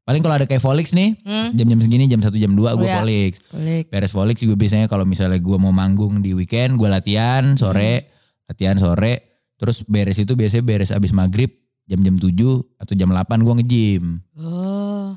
Speaker 1: paling kalau ada kayak Volix nih,
Speaker 2: Hmm.
Speaker 1: jam-jam segini, jam 1, jam 2 gue
Speaker 2: Iya.
Speaker 1: Volix.
Speaker 2: Kulik.
Speaker 1: beres volley juga biasanya kalau misalnya gua mau manggung di weekend gue latihan sore
Speaker 2: Hmm.
Speaker 1: latihan sore terus beres itu biasanya beres abis maghrib jam-jam 7 atau jam 8 gue nge-gym
Speaker 2: Oh.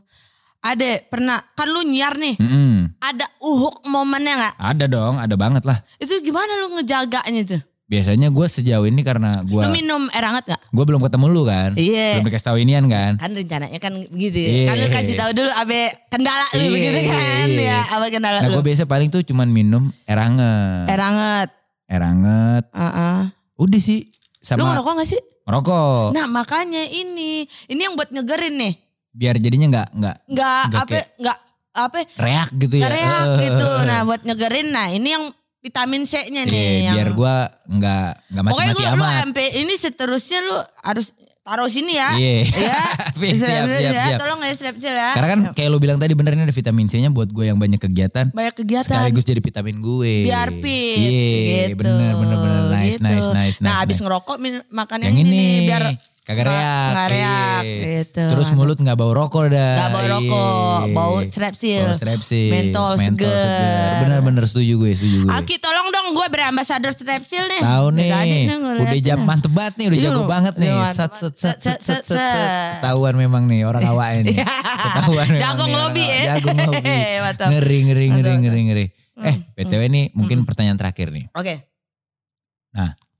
Speaker 2: Ade pernah kan lu nyiar nih.
Speaker 1: Mm-mm.
Speaker 2: Ada uhuk momennya nggak?
Speaker 1: ada dong ada banget lah
Speaker 2: Itu gimana lu ngejaganya tuh?
Speaker 1: biasanya gua sejauh ini karena
Speaker 2: Lu
Speaker 1: gua
Speaker 2: minum air hangat nggak?
Speaker 1: gua belum ketemu lu kan
Speaker 2: Iya.
Speaker 1: belum dikasih tahu inian kan
Speaker 2: Kan rencananya kan begitu ya.
Speaker 1: Iya.
Speaker 2: Kan lu kasih tahu dulu abe kendala lu
Speaker 1: Iya,
Speaker 2: begitu kan.
Speaker 1: iya.
Speaker 2: Ya, apa kendala
Speaker 1: nah
Speaker 2: lu?
Speaker 1: gue biasa paling tuh cuman minum air hangat
Speaker 2: Air hangat.
Speaker 1: air hangat
Speaker 2: Heeh.
Speaker 1: udah sih
Speaker 2: Eh.
Speaker 1: sama
Speaker 2: Lu
Speaker 1: Oh.
Speaker 2: ngerokok gak sih?
Speaker 1: rokok
Speaker 2: Nah makanya ini. Ini yang buat nyegerin nih.
Speaker 1: biar jadinya nggak nggak
Speaker 2: Nggak
Speaker 1: Nggak
Speaker 2: apa, nggak apa,
Speaker 1: reak gitu ya
Speaker 2: reak gitu.
Speaker 1: Eh,
Speaker 2: Nah buat nyegerin. Nah ini yang vitamin
Speaker 1: Iya,
Speaker 2: C-nya nih. yang,
Speaker 1: biar gua nggak nggak
Speaker 2: Pokoknya
Speaker 1: mati-mati
Speaker 2: lu, lu
Speaker 1: amat.
Speaker 2: sampai ini seterusnya lu harus taruh sini ya.
Speaker 1: Iya.
Speaker 2: Ya.
Speaker 1: siap, siap, siap,
Speaker 2: ya. Tolong ya strepsil ya.
Speaker 1: Karena kan kayak lu bilang tadi bener ini ada vitamin C-nya buat gue yang banyak kegiatan.
Speaker 2: banyak kegiatan.
Speaker 1: Sekaligus jadi vitamin gue.
Speaker 2: biar fit
Speaker 1: Iya, bener, bener, bener. Nice,
Speaker 2: gitu.
Speaker 1: nice, nice,
Speaker 2: nah
Speaker 1: nice,
Speaker 2: abis
Speaker 1: nice.
Speaker 2: ngerokok min- makan
Speaker 1: yang ini, nih, biar kagak
Speaker 2: nggak-
Speaker 1: reak.
Speaker 2: nggak reak,
Speaker 1: Iya.
Speaker 2: gitu.
Speaker 1: Terus mulut nggak bau rokok dah.
Speaker 2: Nggak bau rokok,
Speaker 1: Iya.
Speaker 2: bau strepsil.
Speaker 1: Bau strepsil.
Speaker 2: Mentol seger.
Speaker 1: Bener-bener setuju gue, setuju gue.
Speaker 2: Alki tolong dong gue berambassador strepsil nih
Speaker 1: Tahu
Speaker 2: eh, Udah
Speaker 1: nih,
Speaker 2: tadi nih gue
Speaker 1: udah
Speaker 2: liatin
Speaker 1: jam
Speaker 2: nih.
Speaker 1: mantep banget nih, udah
Speaker 2: Iya,
Speaker 1: jago
Speaker 2: lu-
Speaker 1: banget nih.
Speaker 2: lu
Speaker 1: Set set
Speaker 2: mantep
Speaker 1: set
Speaker 2: banget.
Speaker 1: set set set.
Speaker 2: set. Iya.
Speaker 1: Ketahuan memang nih orang awalnya nih. Ketahuan memang.
Speaker 2: Jagong
Speaker 1: nih orang
Speaker 2: lobby
Speaker 1: awak.
Speaker 2: ya.
Speaker 1: Jagong lobby.
Speaker 2: Mantap.
Speaker 1: Ngeri ngeri ngeri
Speaker 2: Mantap, mantap.
Speaker 1: ngeri ngeri. Eh,
Speaker 2: Mm.
Speaker 1: BTW nih mungkin pertanyaan terakhir nih.
Speaker 2: Hmm. oke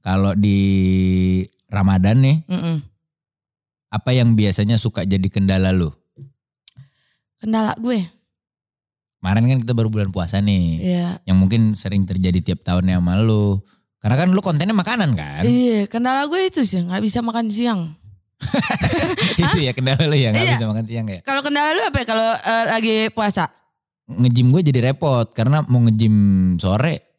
Speaker 1: Kalau di Ramadan nih,
Speaker 2: Mm-mm.
Speaker 1: apa yang biasanya suka jadi kendala lu?
Speaker 2: kendala gue
Speaker 1: Kemarin kan kita baru bulan puasa nih.
Speaker 2: Iya
Speaker 1: Yang mungkin sering terjadi tiap tahunnya sama lu. Karena kan lu kontennya makanan kan?
Speaker 2: iya kendala gue itu sih nggak bisa makan siang
Speaker 1: Itu ya kendala lu ya, gak
Speaker 2: Iya.
Speaker 1: bisa makan siang ya.
Speaker 2: kalau kendala lu apa ya kalau eh, lagi puasa
Speaker 1: nge-gym gue jadi repot karena mau nge-gym sore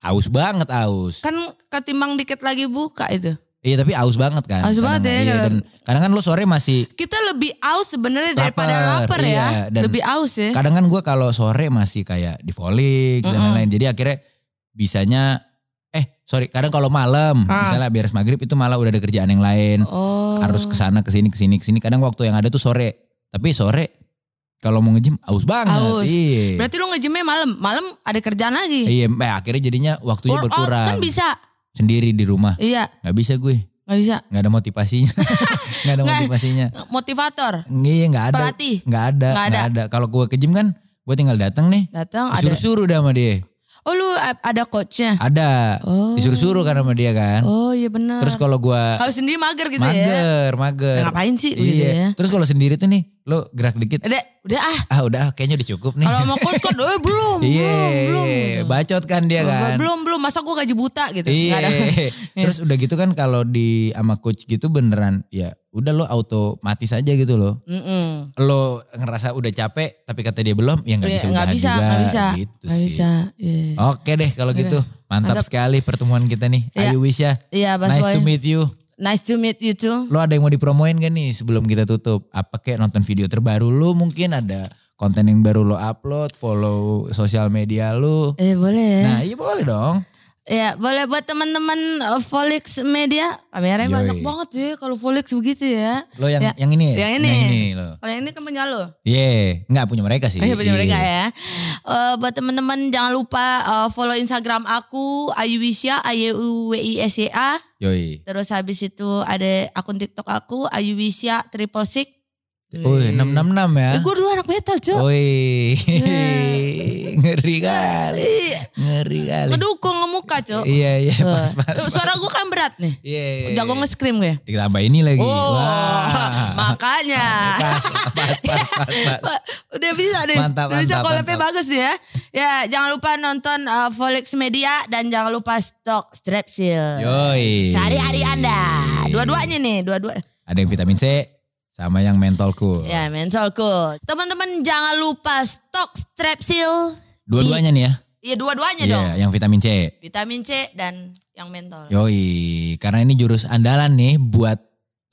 Speaker 1: aus banget aus.
Speaker 2: kan ketimbang dikit lagi buka itu
Speaker 1: Iya tapi aus banget kan.
Speaker 2: Aus
Speaker 1: Kadang-
Speaker 2: banget ya,
Speaker 1: Iya,
Speaker 2: kalau-
Speaker 1: dan kadang kan lu sore masih
Speaker 2: kita lebih aus sebenarnya daripada
Speaker 1: Lapar,
Speaker 2: lapar
Speaker 1: iya,
Speaker 2: ya
Speaker 1: dan-
Speaker 2: lebih aus ya
Speaker 1: kadang kan gue kalau sore masih kayak di volley dan
Speaker 2: Mm-mm.
Speaker 1: lain-lain. Jadi akhirnya bisanya eh sorry kadang kalau malam
Speaker 2: Ah.
Speaker 1: misalnya beres maghrib itu malah udah ada kerjaan yang lain
Speaker 2: oh
Speaker 1: harus kesana kesini kesini kesini. Kadang waktu yang ada tuh sore tapi sore kalau mau nge-gym aus banget.
Speaker 2: Aus.
Speaker 1: Iya.
Speaker 2: Berarti lu ngejemnya malam, malam ada kerjaan lagi.
Speaker 1: Iya, eh, akhirnya jadinya waktunya
Speaker 2: out
Speaker 1: berkurang.
Speaker 2: kan bisa.
Speaker 1: Sendiri di rumah.
Speaker 2: Iya,
Speaker 1: nggak bisa gue.
Speaker 2: nggak bisa.
Speaker 1: nggak ada motivasinya nggak ada
Speaker 2: Nggak.
Speaker 1: motivasinya
Speaker 2: Motivator,
Speaker 1: iya nggak ada
Speaker 2: pelatih,
Speaker 1: nggak ada
Speaker 2: Nggak
Speaker 1: nggak
Speaker 2: ada.
Speaker 1: ada, kalau gue ke gym kan gue tinggal datang nih
Speaker 2: datang ada.
Speaker 1: disuruh-suruh dah sama dia
Speaker 2: Oh lu a- ada coachnya.
Speaker 1: ada
Speaker 2: Oh.
Speaker 1: disuruh-suruh kan sama dia kan
Speaker 2: Oh iya benar.
Speaker 1: terus kalau gue
Speaker 2: kalau sendiri mager gitu ya.
Speaker 1: mager mager
Speaker 2: Nah, ngapain sih
Speaker 1: iya
Speaker 2: gitu ya?
Speaker 1: terus kalau sendiri tuh nih Lu gerak dikit.
Speaker 2: Udah, udah ah.
Speaker 1: Ah udah kayaknya udah cukup nih.
Speaker 2: Kalau mau coach kan, eh belum,
Speaker 1: Iya,
Speaker 2: belum, belum.
Speaker 1: iya.
Speaker 2: gitu.
Speaker 1: bacot kan dia kan.
Speaker 2: Belum, belum. Masa gue gaji buta gitu. Nggak ada.
Speaker 1: Iya. Terus udah gitu kan kalau di sama coach gitu beneran ya udah lo otomatis aja gitu loh.
Speaker 2: Mm-mm.
Speaker 1: Lo ngerasa udah capek tapi kata dia belum ya nggak
Speaker 2: Iya,
Speaker 1: bisa
Speaker 2: nggak
Speaker 1: udahan
Speaker 2: bisa,
Speaker 1: juga
Speaker 2: nggak bisa.
Speaker 1: gitu
Speaker 2: Nggak
Speaker 1: sih.
Speaker 2: bisa. Iya.
Speaker 1: Oke deh kalau gitu mantap
Speaker 2: Mantap.
Speaker 1: sekali pertemuan kita nih.
Speaker 2: Iya.
Speaker 1: Ayu Wisya,
Speaker 2: Iya, Bas
Speaker 1: nice
Speaker 2: Boy.
Speaker 1: to meet you.
Speaker 2: Nice to meet you too.
Speaker 1: Lo ada yang mau dipromoin gak nih sebelum kita tutup? Apa kayak nonton video terbaru lo mungkin ada konten yang baru lo upload, follow sosial media lo.
Speaker 2: Eh
Speaker 1: Nah
Speaker 2: boleh.
Speaker 1: iya boleh dong.
Speaker 2: Ya boleh buat teman-teman eh, Volix Media. Kameranya
Speaker 1: Yoi.
Speaker 2: banyak banget ya kalau Volix begitu ya.
Speaker 1: Lo yang
Speaker 2: Ya,
Speaker 1: yang ini ya?
Speaker 2: yang ini.
Speaker 1: Yang ini lo.
Speaker 2: Kalau yang ini kan punya lo.
Speaker 1: Iya, nggak punya mereka sih.
Speaker 2: Iya punya mereka
Speaker 1: Iya.
Speaker 2: ya. Eh, buat teman-teman jangan lupa eh, follow Instagram aku Ayuwisya A Y U W I S Y A.
Speaker 1: Yoi.
Speaker 2: Terus habis itu ada akun TikTok aku Ayuwisya Triple Six.
Speaker 1: Woi, 666 ya.
Speaker 2: Eh, gue dulu anak metal, Cuk.
Speaker 1: Woi.
Speaker 2: Nah.
Speaker 1: Ngeri kali.
Speaker 2: Ih,
Speaker 1: Ngeri kali.
Speaker 2: Ngedukung ngemuka, Cuk.
Speaker 1: Iya, iya, pas pas.
Speaker 2: Eh,
Speaker 1: pas.
Speaker 2: Suara gue kan berat nih.
Speaker 1: Iya.
Speaker 2: Jago nge-scream ya. gue.
Speaker 1: Ditambah ini lagi.
Speaker 2: Oh,
Speaker 1: Wah.
Speaker 2: makanya.
Speaker 1: Pas, pas, pas, pas, pas.
Speaker 2: Udah bisa nih.
Speaker 1: Mantap,
Speaker 2: Udah bisa
Speaker 1: mantap,
Speaker 2: collabnya
Speaker 1: mantap.
Speaker 2: bagus nih ya. Ya, jangan lupa nonton uh, Volix Media dan jangan lupa stok Strepsil.
Speaker 1: Yoi.
Speaker 2: Sehari-hari Anda. Dua-duanya nih, dua-dua.
Speaker 1: Ada yang vitamin C sama yang mentol cool.
Speaker 2: Ya, mental cool. Teman-teman jangan lupa stok Strepsil.
Speaker 1: Dua-duanya nih ya.
Speaker 2: Iya, dua-duanya
Speaker 1: Iya,
Speaker 2: dong.
Speaker 1: yang vitamin C.
Speaker 2: Vitamin C dan yang mentol.
Speaker 1: Yoi, karena ini jurus andalan nih buat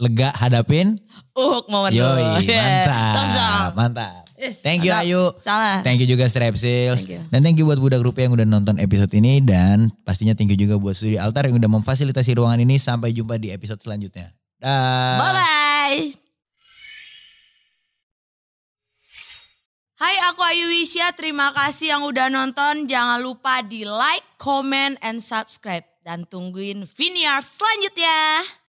Speaker 1: lega hadapin.
Speaker 2: Uhuk Muhammad
Speaker 1: Yoi,
Speaker 2: Terus dong.
Speaker 1: mantap, mantap.
Speaker 2: Yes,
Speaker 1: Thank you
Speaker 2: mantap.
Speaker 1: Ayu.
Speaker 2: Salah.
Speaker 1: Thank you juga Strepsils.
Speaker 2: Thank you.
Speaker 1: Dan thank you buat Budak Rupiah yang udah nonton episode ini. Dan pastinya thank you juga buat Studi Altar yang udah memfasilitasi ruangan ini. Sampai jumpa di episode selanjutnya. Dah.
Speaker 2: Bye-bye. Hai, aku Ayu Wisya. Terima kasih yang udah nonton. Jangan lupa di like, comment, and subscribe. Dan tungguin Vinyar selanjutnya.